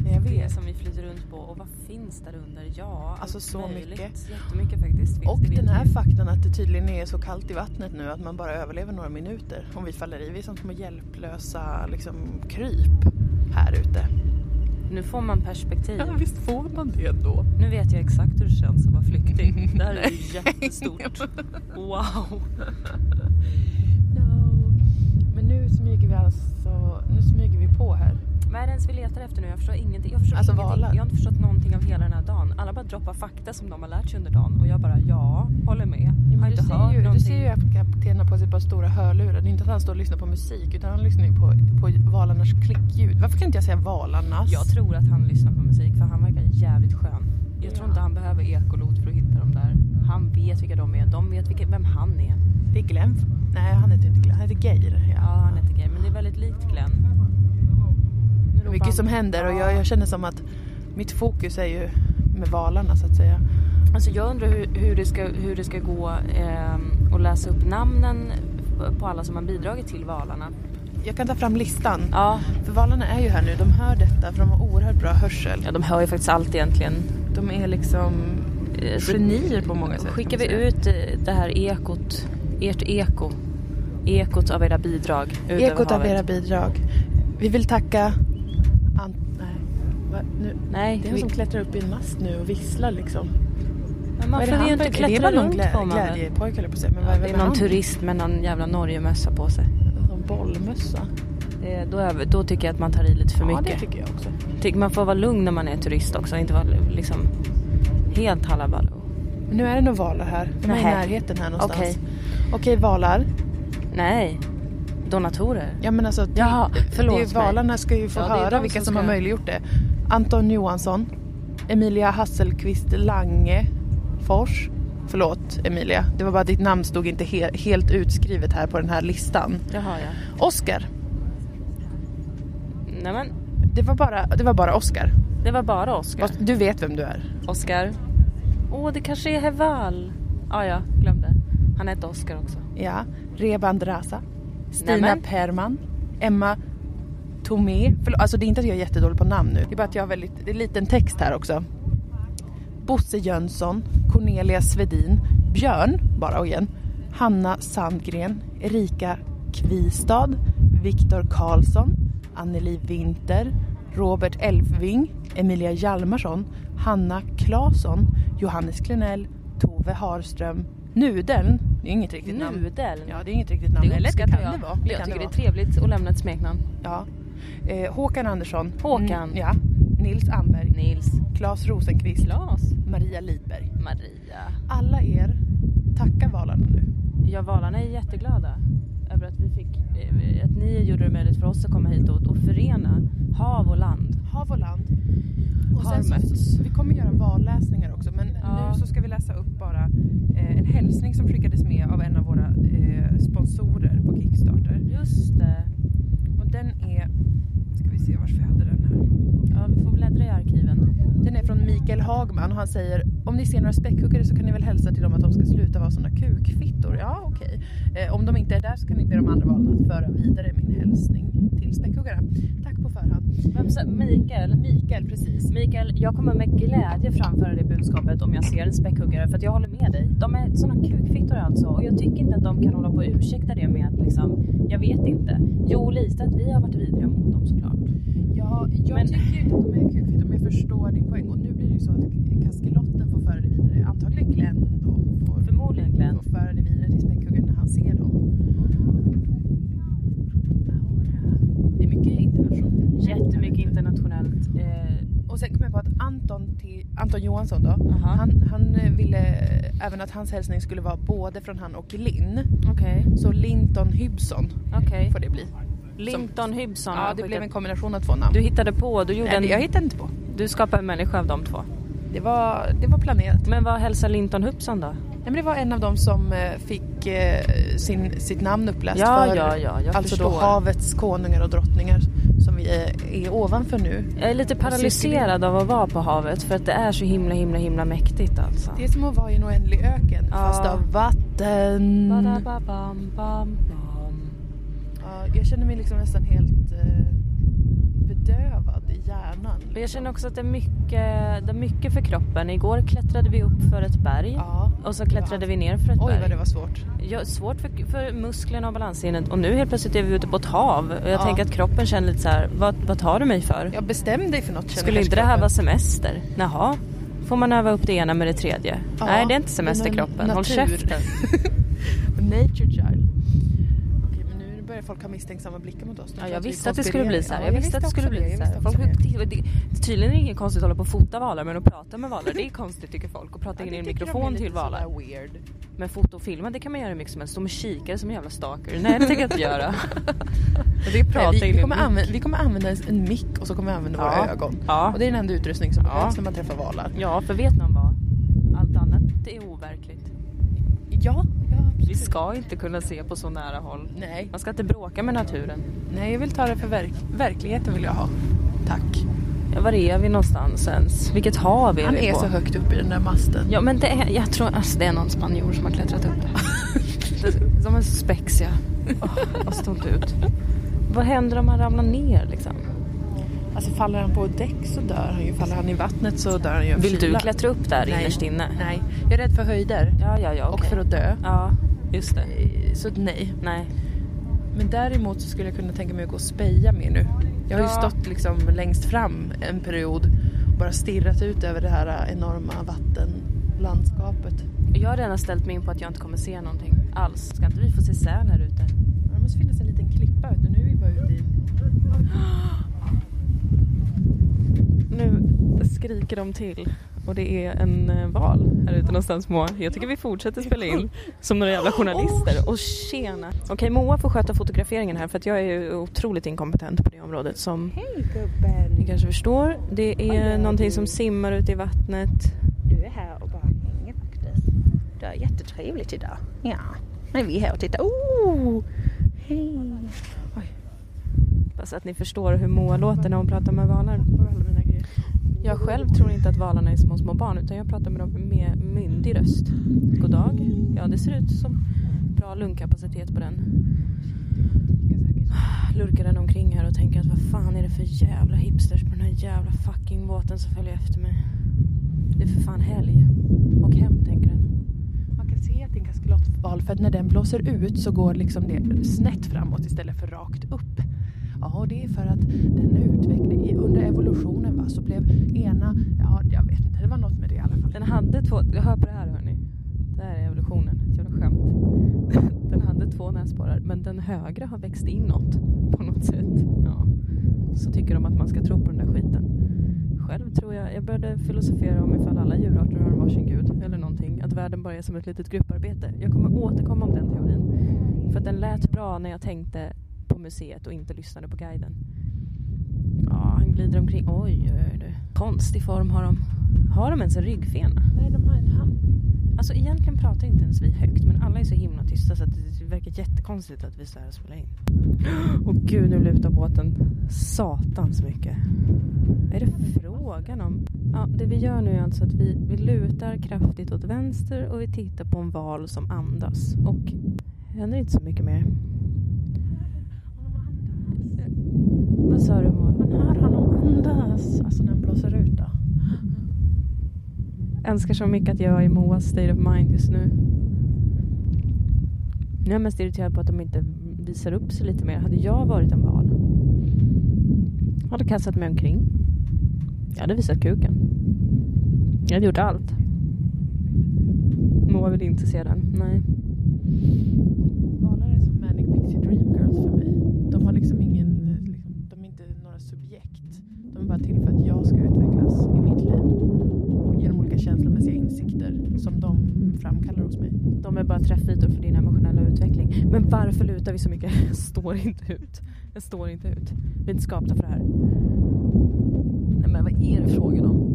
Speaker 1: Nej, jag
Speaker 5: det är
Speaker 1: vet.
Speaker 5: som vi flyter runt på. Och vad finns där under? Ja,
Speaker 1: Alltså,
Speaker 5: allt
Speaker 1: så
Speaker 5: möjligt.
Speaker 1: mycket.
Speaker 5: Jättemycket faktiskt. Finns
Speaker 1: Och
Speaker 5: det, vet
Speaker 1: den här
Speaker 5: vi.
Speaker 1: faktan att det tydligen är så kallt i vattnet nu att man bara överlever några minuter om vi faller i. Vi är som små hjälplösa liksom, kryp här ute.
Speaker 2: nu får man perspektiv.
Speaker 6: Ja, visst får man det ändå?
Speaker 2: Nu vet jag exakt hur det känns att vara flykting. Det här är ju jättestort. Wow!
Speaker 1: No. Men nu smyger vi alltså, nu smyger vi på här.
Speaker 2: Vad är det ens vi letar efter nu? Jag förstår ingenting. Jag, förstår
Speaker 1: Alltså,
Speaker 2: ingenting.
Speaker 1: valar.
Speaker 2: jag har inte förstått någonting av hela den här dagen. Alla bara droppar fakta som de har lärt sig under dagen och jag bara ja, håller med.
Speaker 1: Ja,
Speaker 2: har
Speaker 1: men
Speaker 2: inte
Speaker 1: du,
Speaker 2: hört
Speaker 1: ser ju, du
Speaker 2: någonting.
Speaker 1: ser ju att kaptenen har på sig ett par stora hörlurar. Det är inte att han står och lyssnar på musik utan han lyssnar ju på, på valarnas klickljud. Varför kan inte jag säga valarnas?
Speaker 2: Jag tror att han lyssnar på musik för han verkar jävligt skön. Jag tror inte han behöver ekolod för att hitta dem där. Han vet vilka de är. De vet vilka, vem han är.
Speaker 1: Det är Glenn. Nej, han heter inte Glenn. Han heter Geir.
Speaker 2: Ja, han heter Glenn. Men det är väldigt likt Glenn. Nu
Speaker 1: Det är
Speaker 2: ropar han-
Speaker 1: mycket som händer och jag, jag känner som att mitt fokus är ju med valarna så att säga.
Speaker 2: Alltså jag undrar hur, hur, det, ska, hur det ska gå ehm, att läsa upp namnen på alla som har bidragit till Valarna.
Speaker 1: Jag kan ta fram listan.
Speaker 2: Ja,
Speaker 1: För valarna är ju här nu. De hör detta för de har oerhört bra hörsel.
Speaker 2: ja de hör ju faktiskt allt egentligen.
Speaker 1: De är liksom
Speaker 2: Eh, så-
Speaker 1: genier på många sätt.
Speaker 2: Skickar
Speaker 1: kan man
Speaker 2: vi
Speaker 1: säga.
Speaker 2: ut eh, det här ekot, ert eko, ekot av era bidrag ut över
Speaker 1: Ekot av
Speaker 2: havet?
Speaker 1: era bidrag. Vi vill tacka... Ant... Nej. Va? Nu...
Speaker 2: Nej,
Speaker 1: Det är han som klättrar upp i en mast nu och visslar liksom.
Speaker 2: men
Speaker 1: Vad
Speaker 2: varför vi
Speaker 1: han
Speaker 2: inte
Speaker 1: för- det är
Speaker 2: klättrar
Speaker 1: väl någon
Speaker 2: runt på
Speaker 1: glä-
Speaker 2: man väl?
Speaker 1: glädjepojk höll jag på att säga. Men
Speaker 2: Ja,
Speaker 1: vad
Speaker 2: det
Speaker 1: vem
Speaker 2: är någon
Speaker 1: han?
Speaker 2: turist med någon jävla Norgemössa på sig.
Speaker 1: Någon bollmössa.
Speaker 2: Eh, Då, över, då tycker jag att man tar i lite för
Speaker 1: Ja, det
Speaker 2: mycket.
Speaker 1: tycker jag också.
Speaker 2: Tycker man får vara lugn när man är turist också, inte vara liksom helt halabaloo.
Speaker 1: Men nu är det nog valar här. De är i
Speaker 2: Nähä.
Speaker 1: närheten här någonstans.
Speaker 2: Okej.
Speaker 1: Okej, valar.
Speaker 2: Nej, donatorer.
Speaker 1: Ja men alltså,
Speaker 2: Jaha, förlåt
Speaker 1: det är ju,
Speaker 2: mig.
Speaker 1: valarna ska ju få
Speaker 2: Ja, det är
Speaker 1: höra
Speaker 2: de
Speaker 1: vilka som,
Speaker 2: som
Speaker 1: har
Speaker 2: ska-
Speaker 1: möjliggjort det. Anton Johansson, Emilia Hasselqvist Lange Fors. Förlåt Emilia, det var bara att ditt namn stod inte he- helt utskrivet här på den här listan.
Speaker 2: Jaha, ja.
Speaker 1: Oscar,
Speaker 2: Nej men,
Speaker 1: det var bara, det var bara Oscar.
Speaker 2: det var bara Oscar.
Speaker 1: Fast Du vet vem du är.
Speaker 2: Oscar. Åh, det kanske är Heval. Ah, ja, glömde. Han hette Oscar också.
Speaker 1: Ja. Reban Drasa, Stina
Speaker 2: Nämen.
Speaker 1: Perman, Emma Tomé. Förlåt, alltså det är inte att jag är jättedålig på namn nu. Det är bara att jag har väldigt, det är liten text här också. Bosse Jönsson, Cornelia Svedin, Björn, bara och igen, Hanna Sandgren, Erika Kvistad, Viktor Karlsson, Anneli Winter, Robert Elfving, Emilia Hjalmarsson, Hanna Claesson, Johannes Klenell, Tove Harström, Nudeln, det är inget riktigt namn.
Speaker 2: Nudeln.
Speaker 1: Ja, det är inget riktigt namn. Eller det kan det vara. Det
Speaker 2: jag
Speaker 1: kan
Speaker 2: tycker
Speaker 1: det
Speaker 2: det är
Speaker 1: vara.
Speaker 2: trevligt att lämna ett smeknamn.
Speaker 1: Ja. Eh, Håkan Andersson.
Speaker 2: Håkan.
Speaker 1: Mm, ja. Nils Amberg.
Speaker 2: Nils.
Speaker 1: Claes Rosenqvist.
Speaker 2: Klas.
Speaker 1: Maria Lidberg.
Speaker 2: Maria.
Speaker 1: Alla er tackar valarna nu.
Speaker 2: Ja, valarna är jätteglada över att vi fick, eh, att ni gjorde det möjligt för oss att komma hit och, och förena hav och land.
Speaker 1: Hav och land. Och
Speaker 2: Har
Speaker 1: sen så,
Speaker 2: mötts.
Speaker 1: vi kommer göra valläsningar också men
Speaker 2: Ja.
Speaker 6: Nu så ska vi läsa upp bara eh, en hälsning som skickades med av en av våra eh, sponsorer på Kickstarter.
Speaker 2: Just det.
Speaker 6: Och den är... Ska vi se varför jag hade den här.
Speaker 2: Ja, vi får bläddra i arkiven.
Speaker 1: Den är från Mikael Hagman och han säger om ni ser några späckhuggare så kan ni väl hälsa till dem att de ska sluta vara sådana kukfittor. Ja okej. Eh, om de inte är där så kan ni be de andra valen att föra vidare min hälsning till späckhuggarna. Tack på förhand.
Speaker 2: Vem sa, Mikael?
Speaker 1: Mikael precis.
Speaker 2: Mikael, jag kommer med glädje framföra det budskapet om jag ser en späckhuggare för att jag håller med dig. De är såna kukfittor alltså och jag tycker inte att de kan hålla på och ursäkta det med att liksom, jag vet inte. Jo, lite att vi har varit vidriga mot dem såklart.
Speaker 1: Ja, jag
Speaker 2: Men-
Speaker 1: tycker ju inte att de är kukfittor men jag förstår din poäng och nu blir det ju så att kaskelotten får föra det vidare. Antagligen Glenn då får,
Speaker 2: Förmodligen Glenn.
Speaker 1: får föra det vidare till späckhuggaren när han ser dem. Det är mycket internationellt.
Speaker 2: Jättemycket internationellt. Eh,
Speaker 1: Och sen kom jag på att Anton, till, Anton Johansson då,
Speaker 2: Aha.
Speaker 1: han, han eh, ville eh, även att hans hälsning skulle vara både från han och Linn.
Speaker 2: Okej,
Speaker 1: Så Linton Hybson
Speaker 2: okej.
Speaker 1: får det bli.
Speaker 2: Linton Hybson
Speaker 1: Ja,
Speaker 2: har
Speaker 1: det blev
Speaker 2: skickat-
Speaker 1: en kombination av två namn.
Speaker 2: Du hittade på, du, gjorde
Speaker 1: Nej,
Speaker 2: en,
Speaker 1: det- jag hittade inte på.
Speaker 2: du skapade en människa av de två.
Speaker 1: Det var, det var planerat.
Speaker 2: Men vad hälsar Linton Hybson då?
Speaker 1: Nej, men det var en av dem som eh, fick eh, sin, sitt namn uppläst
Speaker 2: Ja,
Speaker 1: för
Speaker 2: ja, ja, jag
Speaker 1: alltså då
Speaker 2: förstår.
Speaker 1: havets konungar och drottningar som vi är, är ovanför nu.
Speaker 2: Jag är lite paralyserad av att vara på havet för att det är så himla himla himla mäktigt alltså.
Speaker 1: Det är som att vara i en oändlig öken
Speaker 2: Ja.
Speaker 1: fast av vatten.
Speaker 2: Badababam, bam, bam.
Speaker 1: Ja, jag känner mig liksom nästan helt eh, be- bedövad i hjärnan.
Speaker 2: Och jag känner också att det är, mycket, det är mycket för kroppen. Igår klättrade vi upp för ett berg
Speaker 1: Ja.
Speaker 2: och så klättrade vi ner för ett
Speaker 1: Oj
Speaker 2: berg.
Speaker 1: vad det var svårt.
Speaker 2: Ja, svårt för, för musklerna och balanssinnet och nu helt plötsligt är vi ute på ett hav och jag
Speaker 1: Ja.
Speaker 2: tänker att kroppen känner lite så här, vad, vad tar du mig för?
Speaker 1: Jag bestämde dig för något. känner
Speaker 2: Skulle inte det
Speaker 1: kanske
Speaker 2: här
Speaker 1: kroppen.
Speaker 2: vara semester? Naha, får man öva upp det ena med det tredje?
Speaker 1: Ja,
Speaker 2: Nej, det
Speaker 1: det är
Speaker 2: är inte
Speaker 1: någon
Speaker 2: semesterkroppen, håll
Speaker 1: natur.
Speaker 2: käften.
Speaker 1: Nature Child. Okej, men nu börjar folk ha misstänksamma blickar mot oss. De
Speaker 2: Ja,
Speaker 1: tror
Speaker 2: jag
Speaker 1: vi
Speaker 2: visste att det skulle bli så här.
Speaker 1: konspirerar.
Speaker 2: Jag visste att det skulle
Speaker 1: också
Speaker 2: bli
Speaker 1: jag
Speaker 2: så här.
Speaker 1: visste
Speaker 2: Folk,
Speaker 1: också det.
Speaker 2: det, det, tydligen är det inget konstigt att hålla på och fota valar men att prata med valar det är konstigt tycker folk. Och prata in i en
Speaker 1: tycker de är
Speaker 2: mikrofon
Speaker 1: lite
Speaker 2: till valar.
Speaker 1: sådär Weird.
Speaker 2: Men foto och filma det kan man göra hur mycket som helst. Stå med kikare som en jävla stalker. Nej det tänker jag inte göra. Och det är prata
Speaker 1: Nej, vi,
Speaker 2: in i
Speaker 1: vi,
Speaker 2: en
Speaker 1: kommer använda, vi kommer använda en- en mick och så kommer vi använda
Speaker 2: Ja.
Speaker 1: våra ögon.
Speaker 2: Ja.
Speaker 1: Och det är den enda utrustning som
Speaker 2: Ja.
Speaker 1: behövs när man träffar valar.
Speaker 2: Ja för vet någon vad? Allt annat det är overkligt.
Speaker 1: Ja,
Speaker 2: Vi ska inte kunna se på så nära håll.
Speaker 1: Nej.
Speaker 2: Man ska inte bråka med naturen.
Speaker 1: Nej, jag vill ta det för verk- verkligheten vill jag ha. Tack.
Speaker 2: Ja, var är vi någonstans ens? Vilket hav är
Speaker 1: Han
Speaker 2: vi
Speaker 1: är
Speaker 2: på?
Speaker 1: så högt upp i den där masten.
Speaker 2: Ja men det är, jag tror alltså, det är någon spanjor som har klättrat upp där. De är så spexiga. Åh, Vad stort ut. Vad händer om man ramlar ner liksom?
Speaker 1: Alltså faller han på däck så dör han ju. Faller han i vattnet så dör han ju av
Speaker 2: Vill du
Speaker 1: kyla.
Speaker 2: klättra upp där
Speaker 1: Nej.
Speaker 2: innerst inne?
Speaker 1: Nej, jag är rädd för höjder.
Speaker 2: Ja, ja, ja.
Speaker 1: Och
Speaker 2: okej.
Speaker 1: för att dö.
Speaker 2: Ja, just det.
Speaker 1: Så nej.
Speaker 2: Nej.
Speaker 1: Men däremot så skulle jag kunna tänka mig att gå och speja mer nu. Jag har ju
Speaker 2: Ja.
Speaker 1: stått liksom längst fram en period och bara stirrat ut över det här enorma vattenlandskapet.
Speaker 2: Jag har redan ställt mig in på att jag inte kommer se någonting alls. Ska inte vi få se säl här ute?
Speaker 1: Ja, Det måste finnas en liten klippa ute. Nu är vi bara ute i...
Speaker 7: Nu skriker de till och det är en eh, val här ute någonstans Moa. Jag tycker vi fortsätter spela in som några jävla journalister. Och tjena!
Speaker 2: Okej, Moa får sköta fotograferingen här för att jag är ju otroligt inkompetent på det området som
Speaker 8: Hej gubben!
Speaker 2: ni kanske förstår. Det
Speaker 8: Oj,
Speaker 2: är
Speaker 8: oj.
Speaker 2: någonting som simmar ute i vattnet.
Speaker 8: Du är här och bara hänger faktiskt. Det är jättetrevligt idag. Ja, nu är vi här och tittar. Oh! Hej!
Speaker 2: Hoppas att ni förstår hur Moa låter när hon pratar med valar. Jag själv tror inte att valarna är små, små barn utan jag pratar med dem med myndig röst. God dag. Ja, det ser ut som bra lungkapacitet på den. Lurkar den omkring här och tänker att vad fan är det för jävla hipsters på den här jävla fucking båten som följer efter mig. Det är för fan helg. Och hem, tänker den.
Speaker 1: Man kan se att det är en kaskelotval för att när den blåser ut så går liksom det snett framåt istället för rakt upp. Ja, och det är för att den utvecklingen under evolutionen va, så blev ena, ja jag vet inte, det var något med det i alla fall.
Speaker 2: Den hade två... Hör på det här hörni. Det här är evolutionen. Ett jävla skämt. Den hade två näsborrar men den högra har växt inåt på något sätt. Ja. Så tycker de att man ska tro på den där skiten. Själv tror jag... Jag började filosofera om ifall alla djurarter har en varsin gud eller någonting. Att världen bara är som ett litet grupparbete. Jag kommer återkomma om den teorin. För att den lät bra när jag tänkte på museet och inte lyssnade på guiden. Ja, han glider omkring. Oj, oj, oj. du. Konstig form har de. Har de ens en ryggfena?
Speaker 1: Nej, de har en hamn.
Speaker 2: Alltså egentligen pratar inte ens vi högt men alla är så himla tysta så att det verkar jättekonstigt att vi står här och spelar in. Och gud nu lutar båten satans mycket. Vad är det frågan om? Ja, det vi gör nu är alltså att vi, vi lutar kraftigt åt vänster och vi tittar på en val som andas och det händer inte så mycket mer. Vad sa du Moa?
Speaker 1: Hör honom andas, alltså när den blåser ut då.
Speaker 2: Önskar så mycket att jag är Moas state of mind just nu. Nu är jag mest irriterad på att de inte visar upp sig lite mer. Hade jag varit en val hade kastat mig omkring. Jag hade visat kuken. Jag hade gjort allt. Moa vill inte se den. Nej.
Speaker 1: Valar är som Manic Pixie Dream Girls för mig. De har liksom ingen, eh, liksom, de är inte några subjekt. De är bara till för att jag ska utvecklas i mitt liv. Genom olika känslomässiga insikter som de framkallar hos mig.
Speaker 2: De är bara träffytor för din emotionella utveckling. Men varför lutar vi så mycket? Jag står inte ut. Jag står inte ut. Vi är inte skapta för det här. Nej men vad är det frågan om?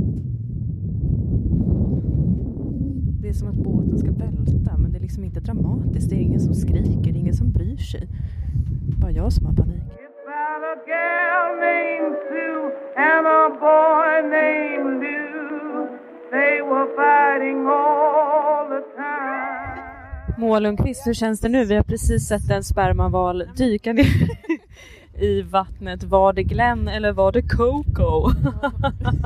Speaker 2: Det är som att båten ska välta men det är liksom inte dramatiskt. Det är ingen som skriker, det är ingen som bryr sig. Bara jag som har panik.
Speaker 3: It's about a gal named Sue and a boy named Lou. They were fighting all the time.
Speaker 2: Moa Lundqvist, hur känns det nu? Vi har precis sett en spermaval dyka ner i vattnet. Var det Glenn eller var det Coco?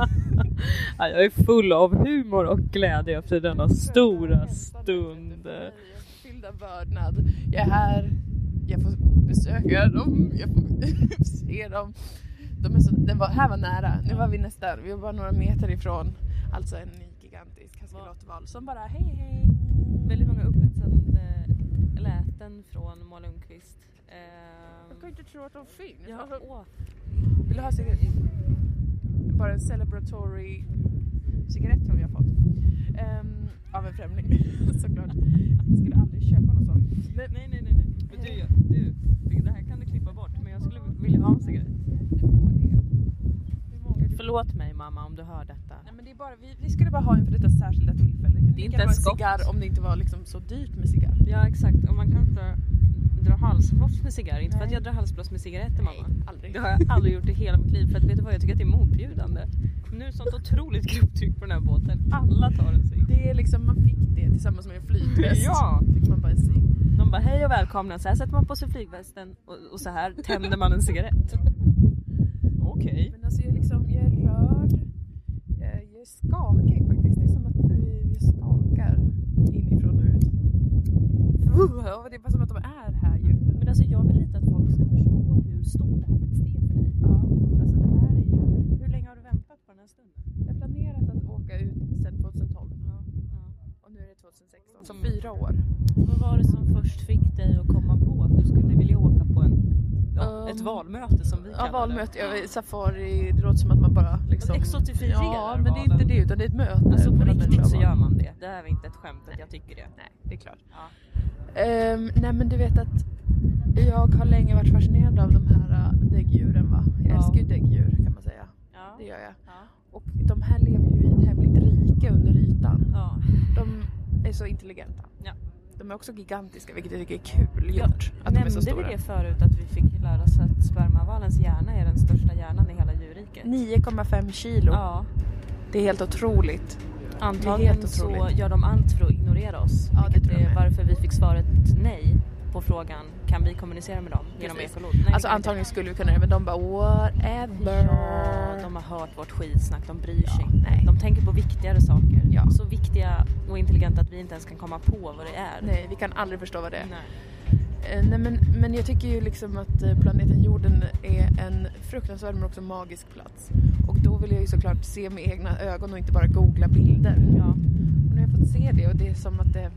Speaker 2: ja, jag är full av humor och glädje efter denna stora stund.
Speaker 1: Fyllda vördnad. Jag är här. Jag får besöka dem. Jag får se dem. De är så, den var, här var nära. Nu var vi nästan. Vi var bara några meter ifrån. Alltså en gigantisk kaskelatval som bara hej hej.
Speaker 2: Väldigt många upphetsande läten från Moa Lundqvist.
Speaker 1: Jag kan inte tro att de finns.
Speaker 2: Ja,
Speaker 1: Alltså,
Speaker 2: åh.
Speaker 1: Vill du ha cigarett? Bara en celebratory cigarett som vi har fått. Ehm, av en främling såklart. Jag skulle aldrig köpa någon sån.
Speaker 2: Nej, nej, nej, nej. Men du, du, det här kan du klippa bort men jag skulle vilja ha en cigarett. Förlåt mig mamma om du hör detta.
Speaker 1: Nej, men det är bara, vi, vi skulle bara ha en för detta särskilda tillfälle. Det,
Speaker 2: Det
Speaker 1: det
Speaker 2: är
Speaker 1: är
Speaker 2: inte
Speaker 1: inte en
Speaker 2: ens gott.
Speaker 1: cigarr om det inte var liksom så dyrt med cigarr.
Speaker 2: Ja exakt och man kan inte dra halsbloss med cigarr. Inte för att jag drar halsbloss med cigaretter mamma.
Speaker 1: Aldrig.
Speaker 2: Det har jag aldrig gjort i hela mitt liv för att vet du vad jag tycker att det är motbjudande. Nu är det sånt otroligt grupptryck på den här båten. Alla tar en cigg.
Speaker 1: Det är liksom, man fick det tillsammans med en flytväst.
Speaker 2: Ja.
Speaker 1: Fick man bara en cigg.
Speaker 2: De bara hej och välkomna. Så här sätter man på sig flygvästen och, och så här tänder man en cigarett. Okej.
Speaker 1: Men alltså jag är liksom, jag är rörd. Eh, Jag är skakig faktiskt. Det är som att eh, vi skakar inifrån och ut. Uh, och det är bara som att de är här ju.
Speaker 2: Men alltså jag vill lite att folk ska förstå hur stort det här faktiskt är för dig. Alltså det här är ju... Hur länge har du väntat på den här stunden?
Speaker 1: Jag har planerat att åka ut sedan 2012. Och nu är det 2016. Så fyra år.
Speaker 2: Vad var det som först fick dig att komma på att du skulle vilja åka på en, ja,
Speaker 1: Um,
Speaker 2: ett valmöte som vi kallar
Speaker 1: Ja, valmöte. Ja, safari, det låter som att man bara liksom...
Speaker 2: det? Exotifierar
Speaker 1: Ja, men det är
Speaker 2: valen.
Speaker 1: inte det utan det är ett möte.
Speaker 2: Alltså på
Speaker 1: mellan människa
Speaker 2: riktigt
Speaker 1: och
Speaker 2: så
Speaker 1: val.
Speaker 2: gör man det. Det här är inte ett skämt att jag tycker det.
Speaker 1: Nej, det är klart.
Speaker 2: Ja.
Speaker 1: Ehm, nej men du vet att jag har länge varit fascinerad av de här äh, däggdjuren va. Jag
Speaker 2: Ja.
Speaker 1: älskar ju däggdjur kan man säga.
Speaker 2: Ja.
Speaker 1: Det gör jag.
Speaker 2: Ja.
Speaker 1: Och de här lever ju i ett hemligt rike under ytan.
Speaker 2: Ja.
Speaker 1: De är så intelligenta.
Speaker 2: Ja.
Speaker 1: De är också gigantiska vilket jag tycker är kul
Speaker 2: Ja,
Speaker 1: gjort. Att de är
Speaker 2: Nämnde
Speaker 1: så
Speaker 2: vi
Speaker 1: stora.
Speaker 2: det förut att vi fick lära oss att spermavalens hjärna är den största hjärnan i hela djurriket?
Speaker 1: 9,5 kilo.
Speaker 2: Ja,
Speaker 1: Det är helt otroligt.
Speaker 2: antagligen
Speaker 1: helt
Speaker 2: så
Speaker 1: otroligt.
Speaker 2: gör de allt för att ignorera oss.
Speaker 1: Ja, det
Speaker 2: vilket
Speaker 1: tror jag
Speaker 2: är
Speaker 1: med.
Speaker 2: varför vi fick svaret nej på frågan kan vi kommunicera med dem genom
Speaker 1: Precis.
Speaker 2: ekolod?
Speaker 1: Alltså
Speaker 2: Nej, det kan vi inte.
Speaker 1: antagligen skulle vi kunna det men de bara whatever.
Speaker 2: Ja, de har hört vårt skitsnack, de bryr sig inte.
Speaker 1: nej.
Speaker 2: De tänker på viktigare saker.
Speaker 1: Ja.
Speaker 2: Så viktiga och intelligenta att vi inte ens kan komma på vad det är.
Speaker 1: Nej, vi kan aldrig förstå vad det är.
Speaker 2: Nej.
Speaker 1: Eh, Nej, men, men jag tycker ju liksom att eh, planeten jorden är en fruktansvärd men också magisk plats. Och då vill jag ju såklart se med egna ögon och inte bara googla bilder.
Speaker 2: Ja.
Speaker 1: Och nu har jag fått se det och det är som att det...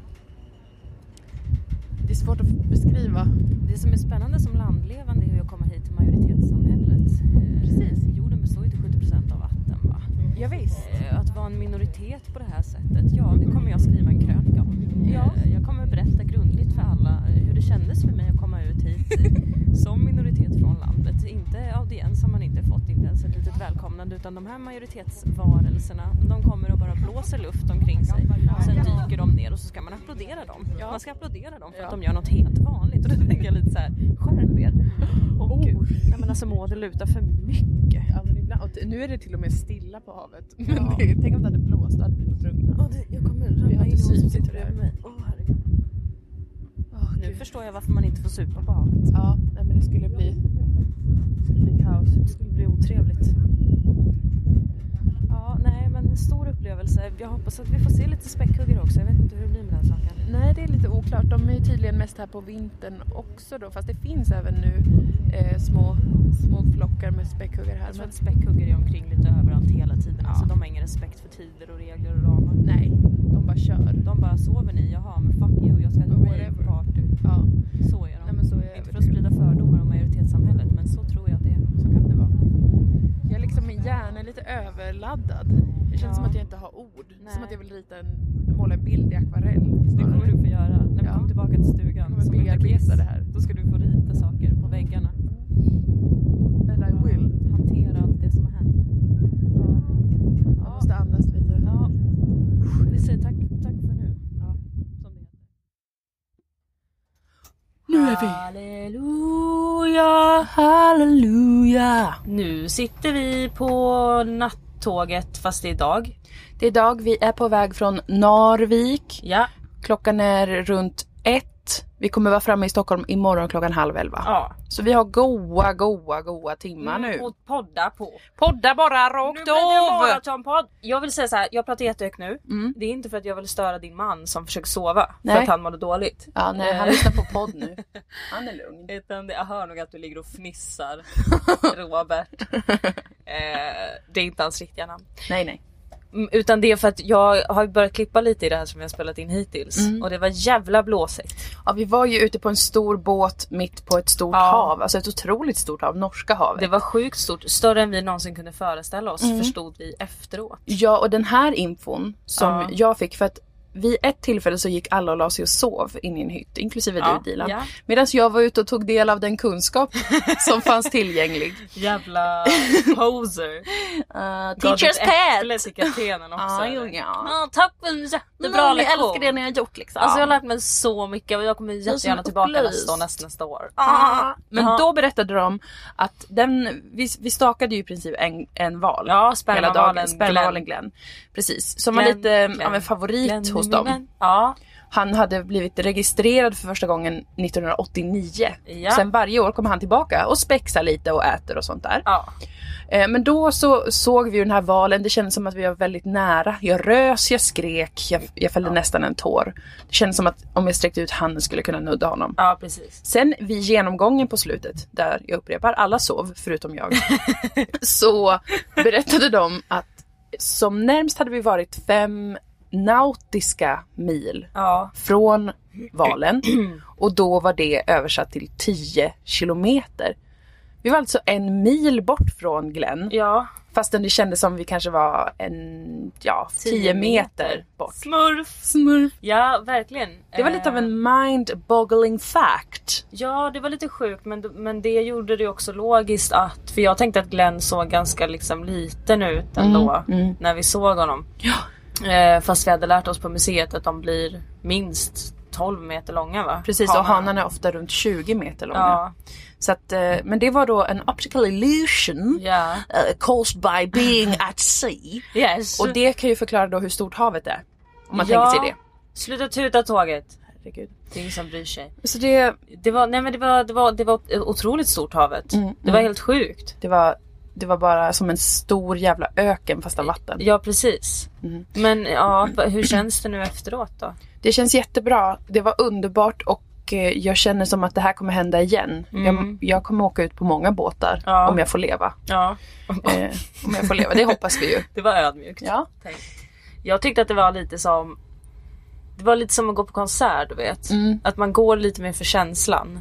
Speaker 1: Det är svårt att beskriva.
Speaker 2: Det som är spännande som landlevande är ju att komma hit till majoritetssamhället. Eh,
Speaker 1: Precis.
Speaker 2: Jorden består ju till 70% av vatten va?
Speaker 1: Ja, visst.
Speaker 2: Eh, Att vara en minoritet på det här sättet, ja det kommer jag skriva en krönika om.
Speaker 1: Ja.
Speaker 2: Eh, Jag kommer berätta grundligt för alla eh, hur det kändes för mig att komma ut hit eh, som minoritet från landet. Inte audiens har man inte fått, inte ens ett litet välkomnande utan de här majoritetsvarelserna de kommer och bara blåser luft omkring sig. Sen dyker de ner och så ska man applådera dem. Man ska applådera dem för att de gör något helt vanligt och då tänker jag lite så här, skärp er. Och, nej men alltså må det luta för mycket.
Speaker 1: Ja, men ibland, och t- nu är det till och med stilla på havet. Men det, tänk om det hade blåst, då hade vi nog drunknat.
Speaker 2: Åh, det, jag kommer ramla
Speaker 1: Vi har
Speaker 2: in
Speaker 1: inte
Speaker 2: i hon som
Speaker 1: syns
Speaker 2: sitter
Speaker 1: tyvärr.
Speaker 2: bredvid mig. Åh, herregud.
Speaker 1: Åh,
Speaker 2: nu
Speaker 1: gud.
Speaker 2: förstår jag varför man inte får supa på havet.
Speaker 1: Ja, nej, men det skulle bli, det skulle bli kaos.
Speaker 2: Det skulle bli otrevligt. Ja, nej men stor upplevelse. Jag hoppas att vi får se lite späckhuggare också. Jag vet inte hur det blir med den saken.
Speaker 1: Nej, det är lite oklart. De är ju tydligen mest här på vintern också då. Fast det finns även nu eh, små, små flockar med späckhuggare här.
Speaker 2: Jag tror
Speaker 1: Men,
Speaker 2: att späckhuggare är omkring lite överallt hela tiden.
Speaker 1: Ja.
Speaker 2: Alltså de har ingen respekt för tider och regler och ramar.
Speaker 1: nej, de bara kör.
Speaker 2: De bara sover ni? Jaha, men fuck you. Jag ska ha ett
Speaker 1: Whatever.
Speaker 2: raveparty.
Speaker 1: Ja,
Speaker 2: Så är de.
Speaker 1: nej men så är
Speaker 2: inte
Speaker 1: det.
Speaker 2: för att sprida fördomar om majoritetssamhället men så tror jag att det är.
Speaker 1: Så kan det vara. Jag liksom, min hjärna är lite överladdad. Det känns
Speaker 2: Ja.
Speaker 1: som att jag inte har ord.
Speaker 2: Nej.
Speaker 1: Som att jag vill rita en, måla en bild i akvarell.
Speaker 2: Det kommer du få göra när vi
Speaker 1: Ja.
Speaker 2: kommer tillbaka till
Speaker 1: Jag
Speaker 2: stugan.
Speaker 1: kommer
Speaker 2: som luktar kiss.
Speaker 1: bearbeta det här.
Speaker 2: Då ska du få rita saker på väggarna.
Speaker 1: And I will.
Speaker 2: Hantera allt det som har hänt.
Speaker 1: Jag måste andas lite.
Speaker 2: Ja. Vi säger tack, tack för nu.
Speaker 1: Ja.
Speaker 2: Som det heter.
Speaker 1: Nu är vi!
Speaker 2: Halleluja, halleluja. Nu sitter vi på nattåget fast det är dag.
Speaker 9: Det är dag, vi är på väg från Narvik.
Speaker 2: Ja.
Speaker 9: Klockan är runt ett
Speaker 1: hit. Vi kommer vara framme i Stockholm imorgon klockan halv elva.
Speaker 2: Ja.
Speaker 1: Så vi har goa, goa, goa timmar nu.
Speaker 2: Och podda på.
Speaker 1: Podda Mm, bara
Speaker 2: Nu
Speaker 1: rakt
Speaker 2: blir det
Speaker 1: av!
Speaker 2: maratonpodd. Jag vill säga så här, jag pratar jättehögt nu. Det är inte för att jag vill störa din man som försöker sova
Speaker 1: Mm. Nej.
Speaker 2: för att han mådde dåligt.
Speaker 1: Ja, nej, han lyssnar på podd nu. Han är lugn.
Speaker 2: Utan det- jag hör nog att du ligger och fnissar Robert. Eh, det är inte hans riktiga namn.
Speaker 1: Nej, nej.
Speaker 2: Mm, Utan det är för att jag har ju börjat klippa lite i det här som jag spelat in hittills. Och det var jävla blåsigt.
Speaker 1: Ja, vi var ju ute på en stor båt mitt på ett stort hav. Alltså ett otroligt stort hav, Norska havet.
Speaker 2: Det var sjukt stort. Större än vi någonsin kunde föreställa oss förstod vi efteråt.
Speaker 1: Ja, och den här infon som
Speaker 2: Ja.
Speaker 1: jag fick för att vid ett tillfälle så gick alla och la sig och sov in i en hytt, inklusive
Speaker 2: Ja,
Speaker 1: du Dilan.
Speaker 2: ja.
Speaker 1: Medan jag var ute och tog del av den kunskap som fanns tillgänglig. Uh,
Speaker 2: Jävla poser.
Speaker 1: teacher's
Speaker 2: pet! till kaptenen också.
Speaker 1: Ja,
Speaker 2: eller?
Speaker 1: ja.
Speaker 2: Ja, tack för en jättebra lektion.
Speaker 1: ni har gjort liksom.
Speaker 2: Alltså jag har lärt mig så mycket och jag kommer jättegärna tillbaka
Speaker 1: upplyst.
Speaker 2: nästa och nästa, nästa år.
Speaker 1: Ah. Men
Speaker 2: Ah. Ja.
Speaker 1: då berättade de att den, vi, vi stakade ju i princip en, en val.
Speaker 2: Ja,
Speaker 1: hela dagen.
Speaker 2: spermavalen
Speaker 1: Spermavalen Glenn. Precis. Som var
Speaker 2: Glenn,
Speaker 1: lite eh,
Speaker 2: Glenn,
Speaker 1: av en favorit
Speaker 2: Glenn,
Speaker 1: hos
Speaker 2: min
Speaker 1: dem.
Speaker 2: vän. Ja,
Speaker 1: Han hade blivit registrerad för första gången 1989.
Speaker 2: Ja.
Speaker 1: Sen varje år kommer han tillbaka och spexar lite och äter och sånt där.
Speaker 2: ja.
Speaker 1: Eh, Men då så såg vi ju den här valen, det kändes som att vi var väldigt nära. Jag rös, jag skrek, jag, jag fällde nästan en tår. Det kändes som att om jag sträckte ut handen skulle jag kunna nudda honom.
Speaker 2: ja precis.
Speaker 1: Sen vid genomgången på slutet, där jag upprepar, alla sov förutom jag, så berättade de att som närmst hade vi varit fem nautiska mil
Speaker 2: Ja.
Speaker 1: från valen och då var det översatt till 10 kilometer. Vi var alltså en mil bort från Glenn
Speaker 2: ja.
Speaker 1: fastän det kändes som vi kanske var en, ja, 10 meter bort.
Speaker 2: Smurf!
Speaker 1: Smurf.
Speaker 2: Ja verkligen. Eh,
Speaker 1: Det var lite av en mind-boggling fact.
Speaker 2: Ja det var lite sjukt men, men det gjorde det också logiskt att för jag tänkte att Glenn såg ganska liksom liten ut
Speaker 1: Mm,
Speaker 2: ändå när vi såg honom. Eh, fast vi hade lärt oss på museet att de blir minst 12 meter långa va?
Speaker 1: Precis, och hanarna är ofta runt 20 meter långa.
Speaker 2: Ja.
Speaker 1: Så att, eh, men det var då en optical illusion
Speaker 2: Ja.
Speaker 1: eh, caused by being at sea.
Speaker 2: Yes.
Speaker 1: Och det kan ju förklara då hur stort havet är. Om man
Speaker 2: Ja.
Speaker 1: tänker sig det.
Speaker 2: Sluta tuta tåget.
Speaker 1: Herregud.
Speaker 2: Det är ingen som bryr sig.
Speaker 1: Så det,
Speaker 2: Det var, nej men det var, det var, det var otroligt stort havet.
Speaker 1: Mm,
Speaker 2: det var helt sjukt.
Speaker 1: det, var, det var bara som en stor jävla öken fast av vatten.
Speaker 2: Ja precis.
Speaker 1: Mm.
Speaker 2: Men ja, va- hur känns det nu efteråt då?
Speaker 1: Det känns jättebra. Det var underbart och eh, jag känner som att det här kommer hända igen. Jag, jag kommer åka ut på många båtar
Speaker 2: Mm. Ja.
Speaker 1: om jag får leva.
Speaker 2: Ja.
Speaker 1: Eh, om jag får leva, det hoppas vi ju.
Speaker 2: Det var ödmjukt.
Speaker 1: Ja.
Speaker 2: Tänk. Jag tyckte att det var lite som det var lite som att gå på konsert du vet.
Speaker 1: Mm.
Speaker 2: Att man går lite mer för känslan.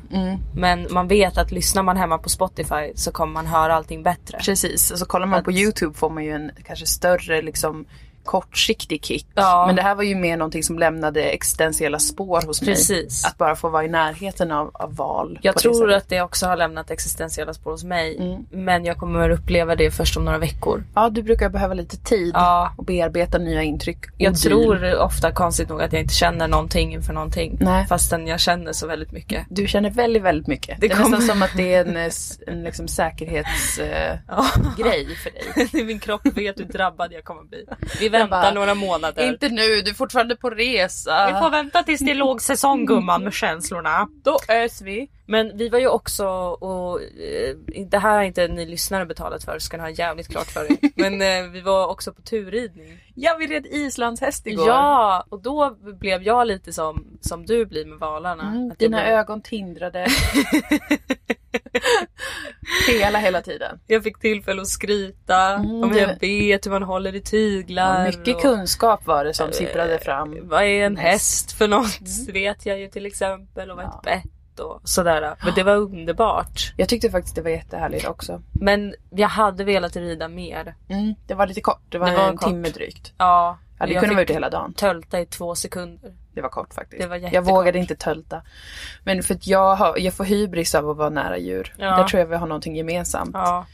Speaker 2: Men man vet att lyssnar man hemma på Spotify så kommer man höra allting bättre.
Speaker 1: Precis, och så kollar man på
Speaker 2: Att-
Speaker 1: Youtube får man ju en kanske större liksom kortsiktig kick.
Speaker 2: Ja.
Speaker 1: Men det här var ju mer någonting som lämnade existentiella spår hos mig.
Speaker 2: Precis.
Speaker 1: Att bara få vara i närheten av, av val.
Speaker 2: Jag
Speaker 1: på det
Speaker 2: tror
Speaker 1: sättet. Mm.
Speaker 2: att det också har lämnat existentiella spår hos mig. Men jag kommer uppleva det först om några veckor.
Speaker 1: Ja, du brukar behöva lite tid
Speaker 2: Ja.
Speaker 1: och bearbeta nya intryck. och
Speaker 2: Jag
Speaker 1: Oh, deal.
Speaker 2: tror ofta konstigt nog att jag inte känner någonting inför någonting.
Speaker 1: Nej.
Speaker 2: Fastän jag känner så väldigt mycket.
Speaker 1: Du känner väldigt, väldigt mycket. Det, är
Speaker 2: kommer-
Speaker 1: nästan som att det är en, eh, s- en liksom säkerhetsgrej eh, grej för dig.
Speaker 2: Min kropp vet hur drabbad jag kommer bli. Vi väntar
Speaker 1: bara,
Speaker 2: några månader.
Speaker 1: Inte nu, du är fortfarande på resa.
Speaker 2: Vi får vänta tills det är lågsäsong gumman med känslorna.
Speaker 1: Då ös vi.
Speaker 2: Mm. Men vi var ju också och eh, det här har inte ni lyssnare betalat för så ska ni ha jävligt klart för er. Men eh, vi var också på turridning.
Speaker 1: Ja, vi red islandshäst igår.
Speaker 2: Ja och då blev jag lite som, som du blir med valarna.
Speaker 1: Mm,
Speaker 2: Att jag
Speaker 1: dina
Speaker 2: blev-
Speaker 1: ögon tindrade. Hela, hela tiden.
Speaker 2: Jag fick tillfälle att skryta om hur jag vet hur man håller i tyglar.
Speaker 1: Mycket
Speaker 2: och
Speaker 1: kunskap var det som sipprade fram.
Speaker 2: Vad är en häst för något?
Speaker 1: Mm.
Speaker 2: vet jag ju till exempel. Och vad ett bett och sådär. Men det var underbart.
Speaker 1: Jag tyckte faktiskt det var jättehärligt också. Mm,
Speaker 2: Men jag hade velat rida mer.
Speaker 1: Det var lite kort, det var,
Speaker 2: Det var
Speaker 1: en
Speaker 2: kort.
Speaker 1: timme drygt.
Speaker 2: Ja,
Speaker 1: Ja, det
Speaker 2: jag
Speaker 1: kunde vara
Speaker 2: fick
Speaker 1: ute hela dagen.
Speaker 2: tölta i två sekunder.
Speaker 1: Det var kort faktiskt.
Speaker 2: Det var
Speaker 1: jag
Speaker 2: jättekort.
Speaker 1: vågade inte tölta. Men för att jag, har, jag får hybris av att vara nära djur.
Speaker 2: Ja.
Speaker 1: Där tror jag vi har någonting gemensamt.
Speaker 2: Ja,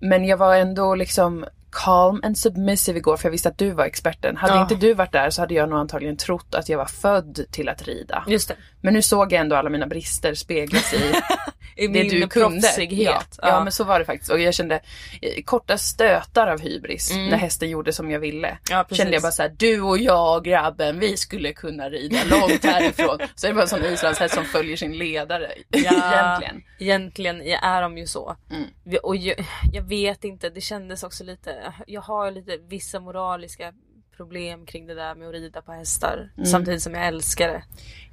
Speaker 1: Men jag var ändå liksom calm and submissive igår för jag visste att du var experten. Hade inte du varit där så hade jag nog antagligen trott att jag var född till att rida.
Speaker 2: just det.
Speaker 1: Men nu såg jag ändå alla mina brister speglas i
Speaker 2: i min
Speaker 1: du kunde. Ja,
Speaker 2: proffsighet.
Speaker 1: ja. men så var det faktiskt. Och jag kände eh, korta stötar av hybris när hästen gjorde som jag ville.
Speaker 2: Ja, precis.
Speaker 1: kände jag bara så här, du och jag grabben, vi skulle kunna rida långt härifrån. så är det bara en sån islandshäst som följer sin ledare egentligen.
Speaker 2: Egentligen är de ju så.
Speaker 1: Mm.
Speaker 2: Vi- Och jag, jag vet inte, det kändes också lite, jag har lite vissa moraliska problem kring det där med att rida på hästar.
Speaker 1: Mm.
Speaker 2: Samtidigt som jag älskar det.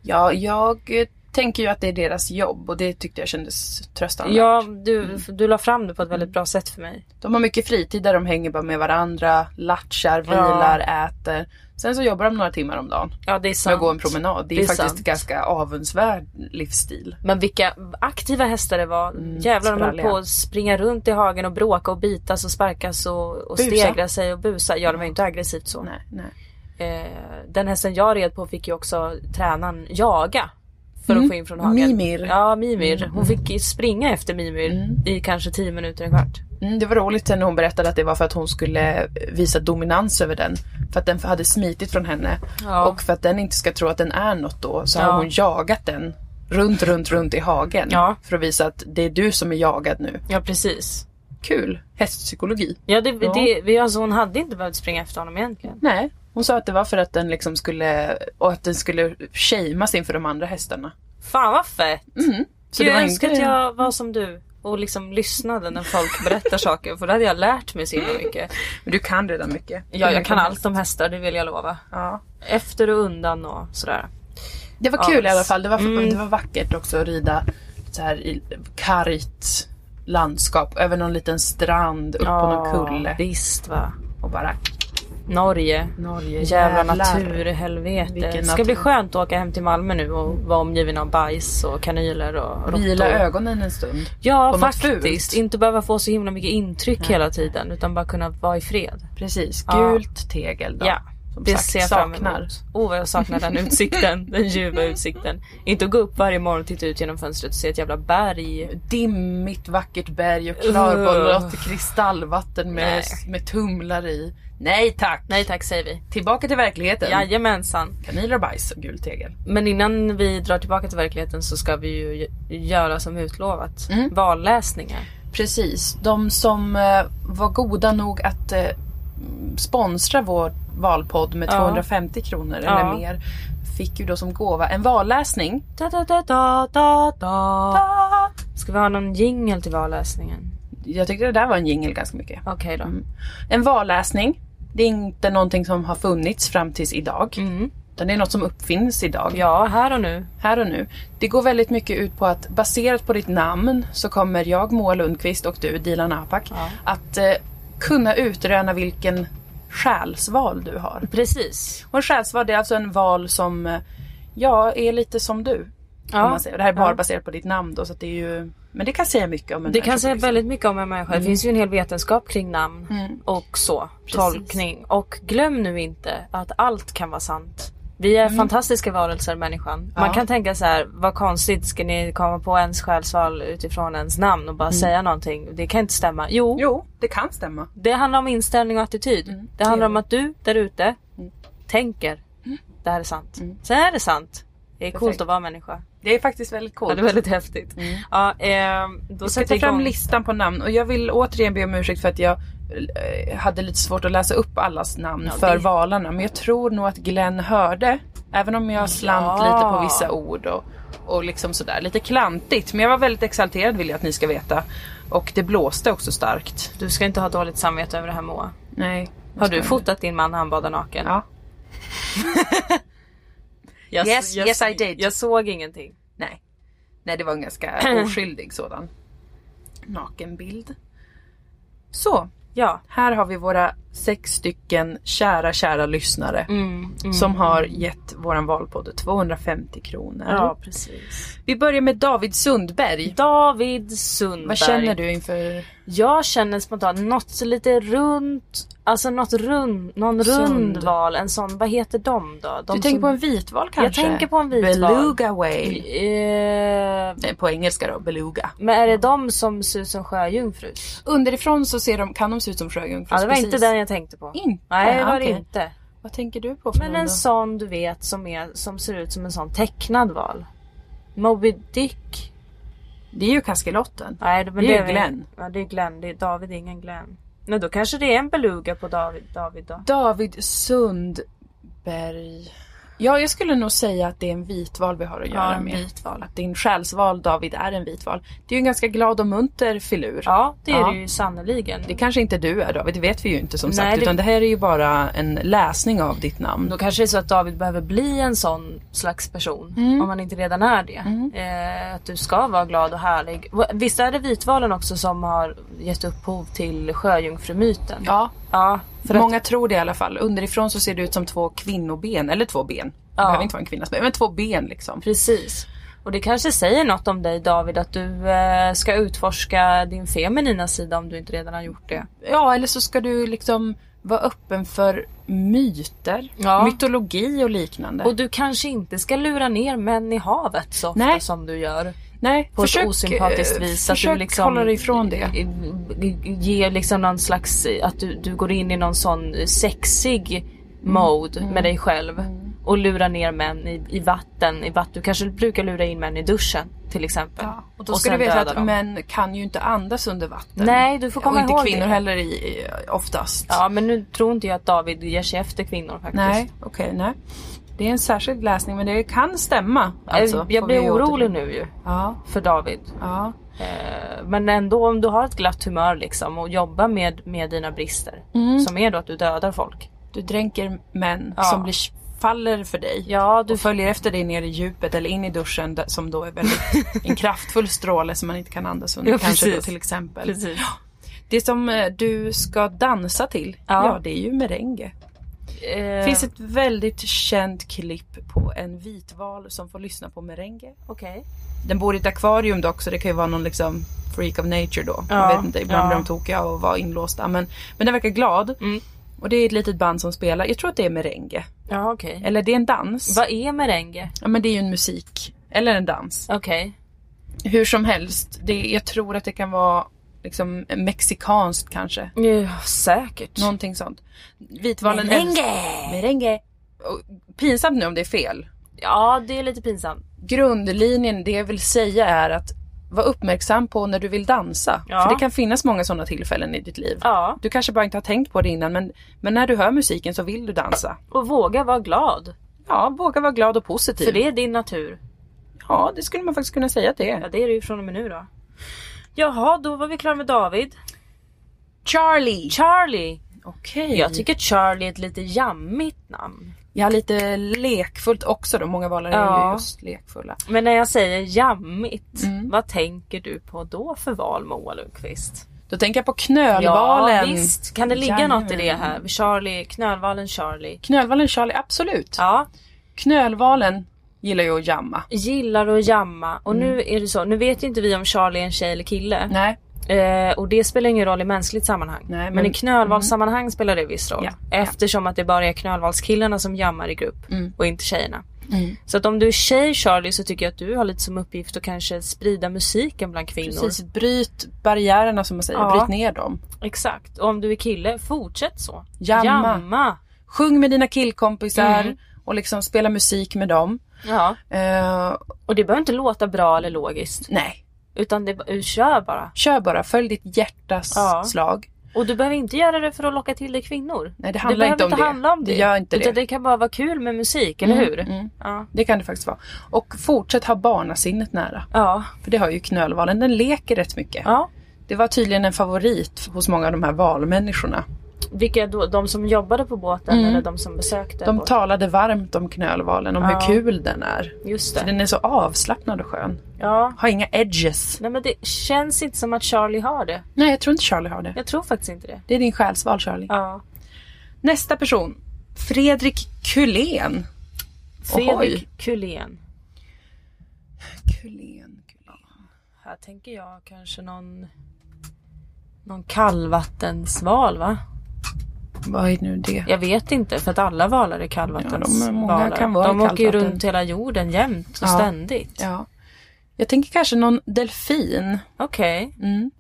Speaker 1: Ja, jag eh, tänker ju att det är deras jobb och det tyckte jag kändes tröstande.
Speaker 2: Ja, du, du la fram det på ett väldigt bra sätt för mig.
Speaker 1: De har mycket fritid där de hänger bara med varandra, latchar, vilar, äter. Sen så jobbar de några timmar om dagen
Speaker 2: Ja, det är
Speaker 1: med att
Speaker 2: sant.
Speaker 1: gå en promenad. Det är,
Speaker 2: Det är
Speaker 1: faktiskt
Speaker 2: sant.
Speaker 1: ganska avundsvärd livsstil.
Speaker 2: Men vilka aktiva hästar det var.
Speaker 1: Mm,
Speaker 2: Jävlar de höll
Speaker 1: spralliga.
Speaker 2: på att springa runt i hagen och bråka och bitas och sparkas och, och
Speaker 1: Busa.
Speaker 2: stegra sig och busa. Ja, det var ju inte aggressivt så.
Speaker 1: Nej, nej.
Speaker 2: Eh, den hästen jag red på fick ju också tränaren jaga. För att få in från hagen.
Speaker 1: Mm. Mimir. Mm.
Speaker 2: Ja, Mimir. Hon fick ju springa efter Mimir i kanske 10 minuter, en kvart.
Speaker 1: Mm, det var roligt sen när hon berättade att det var för att hon skulle visa dominans över den. För att den hade smitit från henne.
Speaker 2: Ja.
Speaker 1: Och för att den inte ska tro att den är något då så
Speaker 2: Ja.
Speaker 1: har hon jagat den runt, runt, runt i hagen.
Speaker 2: Ja.
Speaker 1: För att visa att det är du som är jagad nu.
Speaker 2: Ja, precis.
Speaker 1: Kul! Hästpsykologi.
Speaker 2: Ja, det, det, vi- alltså, hon hade inte behövt springa efter honom egentligen.
Speaker 1: Nej, hon sa att det var för att den liksom skulle och att den skulle shameas inför de andra hästarna. Mm.
Speaker 2: Fan vad fett!
Speaker 1: Så
Speaker 2: Gud,
Speaker 1: det var
Speaker 2: jag önskar att
Speaker 1: inte-
Speaker 2: jag var som du och liksom lyssnade när folk berättar saker för då hade jag lärt mig så himla mycket.
Speaker 1: Men du kan redan mycket.
Speaker 2: Ja, jag
Speaker 1: Mycket.
Speaker 2: kan allt om hästar, det vill jag lova.
Speaker 1: Ja.
Speaker 2: Efter och undan och sådär.
Speaker 1: Det var kul
Speaker 2: Ja.
Speaker 1: i alla fall. Det var,
Speaker 2: Mm.
Speaker 1: det var vackert också att rida så här i kargt landskap över någon liten strand, upp på någon kulle
Speaker 2: Visst va.
Speaker 1: och bara
Speaker 2: Norge.
Speaker 1: Norge,
Speaker 2: Jävla naturhelvete. Det
Speaker 1: Vilken
Speaker 2: ska
Speaker 1: natur.
Speaker 2: bli skönt att åka hem till Malmö nu och vara omgiven av bajs och kanyler och
Speaker 1: Vila
Speaker 2: råttor.
Speaker 1: ögonen en stund.
Speaker 2: Ja
Speaker 1: på något
Speaker 2: faktiskt.
Speaker 1: fult.
Speaker 2: Inte behöva få så himla mycket intryck hela tiden utan bara kunna vara i fred.
Speaker 1: Precis,
Speaker 2: Ja.
Speaker 1: gult tegel då.
Speaker 2: Ja,
Speaker 1: Som
Speaker 2: det
Speaker 1: sagt,
Speaker 2: ser jag fram
Speaker 1: saknar.
Speaker 2: emot. Åh vad jag saknar den utsikten, den ljuva utsikten. Inte att gå upp varje morgon och titta ut genom fönstret och se ett jävla berg.
Speaker 1: Dimmigt vackert berg och
Speaker 2: Ugh.
Speaker 1: klarblått kristallvatten med,
Speaker 2: Nej.
Speaker 1: med tumlar i. Nej tack!
Speaker 2: Nej tack säger vi.
Speaker 1: Tillbaka till verkligheten.
Speaker 2: Jajamensan.
Speaker 1: Kaniler och bajs och gult tegel.
Speaker 2: Men innan vi drar tillbaka till verkligheten så ska vi ju gö- göra som utlovat.
Speaker 1: Mm.
Speaker 2: Valläsningar.
Speaker 1: Precis. De som eh, var goda nog att eh, sponsra vår valpodd med
Speaker 2: Ja.
Speaker 1: 250 kronor
Speaker 2: Ja.
Speaker 1: eller mer fick ju då som gåva en valläsning.
Speaker 2: Da, da, da, da, da, da. Ska vi ha någon jingel till valläsningen?
Speaker 1: Jag tyckte det där var en jingel ganska mycket.
Speaker 2: Okej då.
Speaker 1: Mm. En valläsning. Det är inte någonting som har funnits fram tills idag.
Speaker 2: Mm.
Speaker 1: Utan det är något som uppfinns idag.
Speaker 2: Ja, här och nu.
Speaker 1: här och nu. Det går väldigt mycket ut på att baserat på ditt namn så kommer jag, Moa Lundqvist och du, Dilan Apak, att eh, kunna utröna vilken själsval du har.
Speaker 2: Precis.
Speaker 1: Och en själsval det är alltså en val som eh, ja, är lite som du. Ja.
Speaker 2: Ja.
Speaker 1: Man säger. Och Det här är bara
Speaker 2: Ja.
Speaker 1: baserat på ditt namn då, så att det är ju... Men det kan säga mycket om en
Speaker 2: Det kan
Speaker 1: människa,
Speaker 2: säga
Speaker 1: liksom.
Speaker 2: väldigt mycket om en människa. Det finns ju en hel vetenskap kring namn
Speaker 1: Mm.
Speaker 2: och så. Tolkning. Och glöm nu inte att allt kan vara sant. Vi är fantastiska varelser människan. Man
Speaker 1: Mm. Ja.
Speaker 2: kan tänka så här, vad konstigt ska ni komma på ens själsval utifrån ens namn och bara säga någonting. Det kan inte stämma. Jo,
Speaker 1: Mm. Jo, Mm. det kan stämma.
Speaker 2: det handlar om inställning och attityd. Det handlar om att du där ute
Speaker 1: Mm.
Speaker 2: tänker, det här är sant. Sen är det sant. Det är coolt
Speaker 1: Perfekt.
Speaker 2: att vara människa.
Speaker 1: Det är faktiskt väldigt
Speaker 2: Ja,
Speaker 1: coolt.
Speaker 2: det är väldigt häftigt. Ja, ehm, då
Speaker 1: Jag
Speaker 2: sätter
Speaker 1: ska
Speaker 2: vi
Speaker 1: ta fram
Speaker 2: igång.
Speaker 1: listan på namn och jag vill återigen be om ursäkt för att jag eh, hade lite svårt att läsa upp allas namn för valarna. Men jag tror nog att Glenn hörde, även om jag slant
Speaker 2: Ja.
Speaker 1: lite på vissa ord och, och liksom sådär. Lite klantigt, men jag var väldigt exalterad vill jag att ni ska veta. Och det blåste också starkt.
Speaker 2: Du ska inte ha dåligt samvete över det här Moa.
Speaker 1: Nej.
Speaker 2: Har du fotat din man när han badar naken?
Speaker 1: Ja.
Speaker 2: Jag,
Speaker 1: Yes,
Speaker 2: jag,
Speaker 1: yes, I did.
Speaker 2: Jag såg ingenting.
Speaker 1: Nej. Nej, det var en ganska oskyldig sådan. Nakenbild. Så,
Speaker 2: Ja,
Speaker 1: här har vi våra sex stycken kära, kära lyssnare. Som har gett våran valpodd 250 kronor.
Speaker 2: ja precis.
Speaker 1: Vi börjar med David Sundberg.
Speaker 2: David Sundberg.
Speaker 1: Vad känner du inför
Speaker 2: Jag känner spontant något lite runt, alltså något rund, någon rund
Speaker 1: Sund.
Speaker 2: val, en sån, vad heter de då? De
Speaker 1: Du tänker
Speaker 2: som-
Speaker 1: på en vitval kanske?
Speaker 2: tänker på en vitval.
Speaker 1: Beluga whale.
Speaker 2: Eh,
Speaker 1: Nej, på engelska då, beluga.
Speaker 2: men är det de som ser ut som sjöjungfrus?
Speaker 1: Underifrån så ser de, kan de se ut som sjöjungfrus.
Speaker 2: Ja, det var
Speaker 1: precis.
Speaker 2: inte den jag tänkte på.
Speaker 1: Inte?
Speaker 2: Nej, det var det
Speaker 1: Okej.
Speaker 2: inte.
Speaker 1: Vad tänker du på för
Speaker 2: Men
Speaker 1: någon
Speaker 2: en
Speaker 1: då?
Speaker 2: sån du vet som, är, som ser ut som en sån tecknad val. Moby Dick.
Speaker 1: Det är ju kaskelotten.
Speaker 2: Nej, men
Speaker 1: Det är
Speaker 2: väl-
Speaker 1: Glenn.
Speaker 2: Ja, det är Glenn. Det är David, ingen Glenn. Nej, då kanske det är en beluga på David, David då.
Speaker 1: David Sundberg. Ja, jag skulle nog säga att det är en vitval vi har att göra
Speaker 2: en
Speaker 1: med. Att din själsval David är en vitval. Det är ju en ganska glad och munter filur.
Speaker 2: Ja, det är
Speaker 1: Ja.
Speaker 2: det ju sannerligen.
Speaker 1: Det kanske inte du är David, det vet vi ju inte som
Speaker 2: Nej,
Speaker 1: sagt.
Speaker 2: det-
Speaker 1: Utan det här är ju bara en läsning av ditt namn.
Speaker 2: Då kanske det är så att David behöver bli en sån slags person. Om han inte redan är det. Eh, att du ska vara glad och härlig. Visst är det vitvalen också som har gett upphov till sjöjungfrumyten?
Speaker 1: Ja,
Speaker 2: ja för att,
Speaker 1: Många tror det i alla fall. Underifrån så ser det ut som två kvinnoben, eller två ben. Det
Speaker 2: Ja.
Speaker 1: behöver inte vara en kvinnas ben, men två ben liksom.
Speaker 2: precis. Och det kanske säger något om dig David att du eh, ska utforska din feminina sida om du inte redan har gjort det.
Speaker 1: Ja, eller så ska du liksom vara öppen för myter,
Speaker 2: Ja.
Speaker 1: mytologi och liknande.
Speaker 2: Och du kanske inte ska lura ner män i havet så ofta
Speaker 1: Nej.
Speaker 2: som du gör.
Speaker 1: Nej,
Speaker 2: på ett osympatiskt
Speaker 1: eh,
Speaker 2: vis.
Speaker 1: Försök
Speaker 2: att du liksom
Speaker 1: hålla dig ifrån det.
Speaker 2: eh, Ge liksom någon slags, eh, att du, du går in i någon sån sexig
Speaker 1: Mm.
Speaker 2: mode med dig själv. Och lura ner män i, i vatten. I vatt, du kanske brukar lura in män i duschen till exempel.
Speaker 1: Ja, och då ska du
Speaker 2: sen
Speaker 1: veta
Speaker 2: döda
Speaker 1: att
Speaker 2: dem.
Speaker 1: män kan ju inte andas under vatten.
Speaker 2: Nej, du får komma
Speaker 1: och inte
Speaker 2: ihåg
Speaker 1: kvinnor
Speaker 2: det.
Speaker 1: heller i, i, oftast.
Speaker 2: Ja men nu tror inte jag att David ger sig efter kvinnor faktiskt.
Speaker 1: Nej, okej, nej. Det är en särskild läsning men det kan stämma.
Speaker 2: Eh,
Speaker 1: Alltså,
Speaker 2: jag
Speaker 1: får
Speaker 2: blir
Speaker 1: vi
Speaker 2: orolig
Speaker 1: åter-
Speaker 2: nu ju
Speaker 1: Ja,
Speaker 2: för David.
Speaker 1: ja.
Speaker 2: Eh, Men ändå om du har ett glatt humör liksom och jobbar med, med dina brister. Som är då att du dödar folk.
Speaker 1: Du dränker män
Speaker 2: Ja.
Speaker 1: som blir, faller för dig.
Speaker 2: Ja, du
Speaker 1: Du följer efter dig ner i djupet eller in i duschen där- som då är väldigt en kraftfull stråle som man inte kan andas under
Speaker 2: Ja,
Speaker 1: kanske då,
Speaker 2: precis.
Speaker 1: till exempel.
Speaker 2: Precis.
Speaker 1: Det som eh, du ska dansa till, ja,
Speaker 2: Ja.
Speaker 1: det är ju merengue.
Speaker 2: Eh,
Speaker 1: Det finns ett väldigt känt klipp på en vitval som får lyssna på merengue.
Speaker 2: Okej.
Speaker 1: Den bor i ett akvarium dock så det kan ju vara någon liksom freak of nature då.
Speaker 2: Ja,
Speaker 1: Man vet inte, ibland
Speaker 2: ja.
Speaker 1: blir de tokiga och var inlåsta. Men, men den verkar glad.
Speaker 2: Mm.
Speaker 1: Och det är ett litet band som spelar, jag tror att det är merengue.
Speaker 2: Ja okej.
Speaker 1: Eller det är en dans.
Speaker 2: Vad är merengue?
Speaker 1: Ja men det är ju en musik. Eller en dans.
Speaker 2: Okej.
Speaker 1: Hur som helst, det, jag tror att det kan vara liksom mexikanskt kanske.
Speaker 2: Ja, säkert.
Speaker 1: Någonting sånt. Vitvalen älsk- Merengue! Och, pinsamt nu om det är fel.
Speaker 2: Ja det är lite pinsamt.
Speaker 1: Grundlinjen, det jag vill säga är att vara uppmärksam på när du vill dansa.
Speaker 2: Ja.
Speaker 1: För det kan finnas många sådana tillfällen i ditt liv.
Speaker 2: Ja.
Speaker 1: Du kanske bara inte har tänkt på det innan men, men när du hör musiken så vill du dansa.
Speaker 2: Och våga vara glad.
Speaker 1: Ja, våga vara glad och positiv.
Speaker 2: För det är din natur.
Speaker 1: Ja, det skulle man faktiskt kunna säga att det
Speaker 2: Ja
Speaker 1: är.
Speaker 2: det är det ju från och med nu då. Jaha då var vi klara med David.
Speaker 1: Charlie!
Speaker 2: Charlie.
Speaker 1: Okej.
Speaker 2: Jag tycker Charlie är ett lite jammigt namn.
Speaker 1: Ja, lite lekfullt också då. Många valar är
Speaker 2: Ja.
Speaker 1: ju just lekfulla.
Speaker 2: Men när jag säger jammigt. Vad tänker du på då för val Moa Lundqvist?
Speaker 1: Då tänker jag på knölvalen.
Speaker 2: Ja visst. Kan det ligga
Speaker 1: Jajamän.
Speaker 2: något i det här? Charlie, knölvalen Charlie.
Speaker 1: Knölvalen Charlie, absolut.
Speaker 2: Ja.
Speaker 1: Knölvalen gillar ju att jamma.
Speaker 2: gillar att jamma och nu är det så, nu vet ju inte vi om Charlie är en tjej eller kille
Speaker 1: Nej,
Speaker 2: eh, och det spelar ingen roll i mänskligt sammanhang.
Speaker 1: Nej,
Speaker 2: men...
Speaker 1: men-
Speaker 2: i knölvalssammanhang spelar det viss roll
Speaker 1: Ja, Mm.
Speaker 2: eftersom att det bara är knölvalskillarna som jammar i grupp och inte tjejerna. Så att om du är tjej Charlie så tycker jag att du har lite som uppgift att kanske sprida musiken bland kvinnor.
Speaker 1: precis. Bryt barriärerna som man säger.
Speaker 2: Ja.
Speaker 1: Bryt ner dem.
Speaker 2: Exakt. Och om du är kille, fortsätt så.
Speaker 1: Jamma.
Speaker 2: jamma.
Speaker 1: Sjung med dina killkompisar
Speaker 2: Mm.
Speaker 1: och liksom spela musik med dem.
Speaker 2: Ja.
Speaker 1: Eh,
Speaker 2: Och det behöver inte låta bra eller logiskt
Speaker 1: nej,
Speaker 2: utan det, kör bara.
Speaker 1: kör bara. Följ ditt hjärtas
Speaker 2: Ja.
Speaker 1: slag.
Speaker 2: Och du behöver inte göra det för att locka till dig kvinnor.
Speaker 1: Nej, det handlar
Speaker 2: behöver
Speaker 1: inte om det.
Speaker 2: handla om
Speaker 1: Det
Speaker 2: det.
Speaker 1: gör inte
Speaker 2: Utan
Speaker 1: det.
Speaker 2: det kan bara vara kul med musik, eller hur?
Speaker 1: mm.
Speaker 2: Ja.
Speaker 1: Det kan det faktiskt vara. Och fortsätt ha barnasinnet nära.
Speaker 2: Ja.
Speaker 1: För det har ju knölvalen. Den leker rätt mycket.
Speaker 2: ja.
Speaker 1: Det var tydligen en favorit hos många av de här valmänniskorna.
Speaker 2: Vilka då? De som jobbade på båten eller de som besökte?
Speaker 1: Mm. De
Speaker 2: båten?
Speaker 1: talade varmt om knölvalen, om hur kul den är.
Speaker 2: Just
Speaker 1: Så
Speaker 2: det.
Speaker 1: den är så avslappnad och skön.
Speaker 2: Ja.
Speaker 1: Har inga edges.
Speaker 2: Nej men det känns inte som att Charlie har det.
Speaker 1: Nej, jag tror inte Charlie har det.
Speaker 2: Jag tror faktiskt inte det.
Speaker 1: Det är din själsval Charlie.
Speaker 2: Ja.
Speaker 1: Nästa person. Fredrik Kulén.
Speaker 2: Fredrik Kulén.
Speaker 1: Kulén.
Speaker 2: Här tänker jag kanske någon... Någon kallvattensval va?
Speaker 1: Vad är nu det?
Speaker 2: Jag vet inte för att alla valar är
Speaker 1: Ja, de- många
Speaker 2: kallvattensvalar.
Speaker 1: kan vara i
Speaker 2: de åker ju
Speaker 1: kallvatten.
Speaker 2: runt hela jorden jämt och
Speaker 1: Ja.
Speaker 2: ständigt.
Speaker 1: Ja. Jag tänker kanske någon delfin.
Speaker 2: Okej.
Speaker 1: Mm.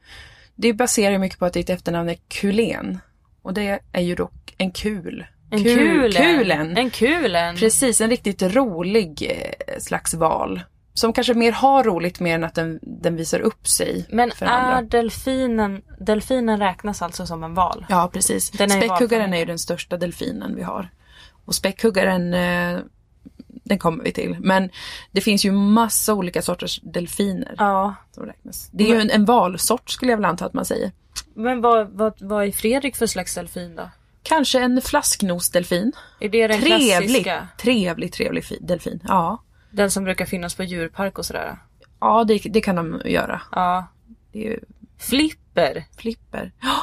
Speaker 1: Det baserar ju mycket på att ditt efternamn är Kulén. Och det är ju då en kul.
Speaker 2: En
Speaker 1: Kul-
Speaker 2: kulen.
Speaker 1: Kulen.
Speaker 2: En kulen.
Speaker 1: Precis, en riktigt rolig eh, slags val. Som kanske mer har roligt mer än att den, den visar upp sig
Speaker 2: Men
Speaker 1: för
Speaker 2: är
Speaker 1: andra.
Speaker 2: delfinen, delfinen räknas alltså som en val?
Speaker 1: Ja, precis.
Speaker 2: Den är ju
Speaker 1: Späckhuggaren
Speaker 2: valfångare.
Speaker 1: är ju den största delfinen vi har. Och späckhuggaren, eh, den kommer vi till. Men det finns ju massa olika sorters delfiner
Speaker 2: Ja.
Speaker 1: som räknas. Det är ju en, en valsort skulle jag väl anta att man säger.
Speaker 2: Men vad, vad, vad är Fredrik för slags delfin då?
Speaker 1: Kanske en flasknosdelfin.
Speaker 2: Är det den
Speaker 1: Trevlig,
Speaker 2: klassiska?
Speaker 1: trevlig, trevlig fi- delfin. Ja,
Speaker 2: Den som brukar finnas på djurpark och sådär?
Speaker 1: ja det, det kan de göra.
Speaker 2: Ja.
Speaker 1: Det är ju
Speaker 2: Flipper?
Speaker 1: flipper. Ja,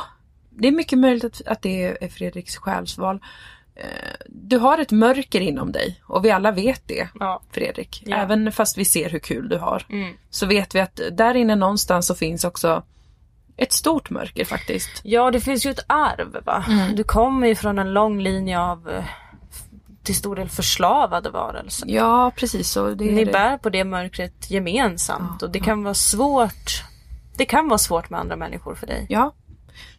Speaker 1: Det är mycket möjligt att, att det är Fredriks själsval. Eh, Du har ett mörker inom dig och vi alla vet det
Speaker 2: Ja.
Speaker 1: Fredrik.
Speaker 2: Ja.
Speaker 1: Även fast vi ser hur kul du har.
Speaker 2: Mm.
Speaker 1: Så vet vi att där inne någonstans så finns också ett stort mörker faktiskt.
Speaker 2: Ja, det finns ju ett arv va?
Speaker 1: Mm.
Speaker 2: Du kommer ju från en lång linje av eh, f- till stor del förslavade varelser.
Speaker 1: Ja precis så. Det är
Speaker 2: Ni
Speaker 1: det.
Speaker 2: bär på det mörkret gemensamt och det kan vara svårt. Det kan vara svårt med andra människor för dig.
Speaker 1: Ja,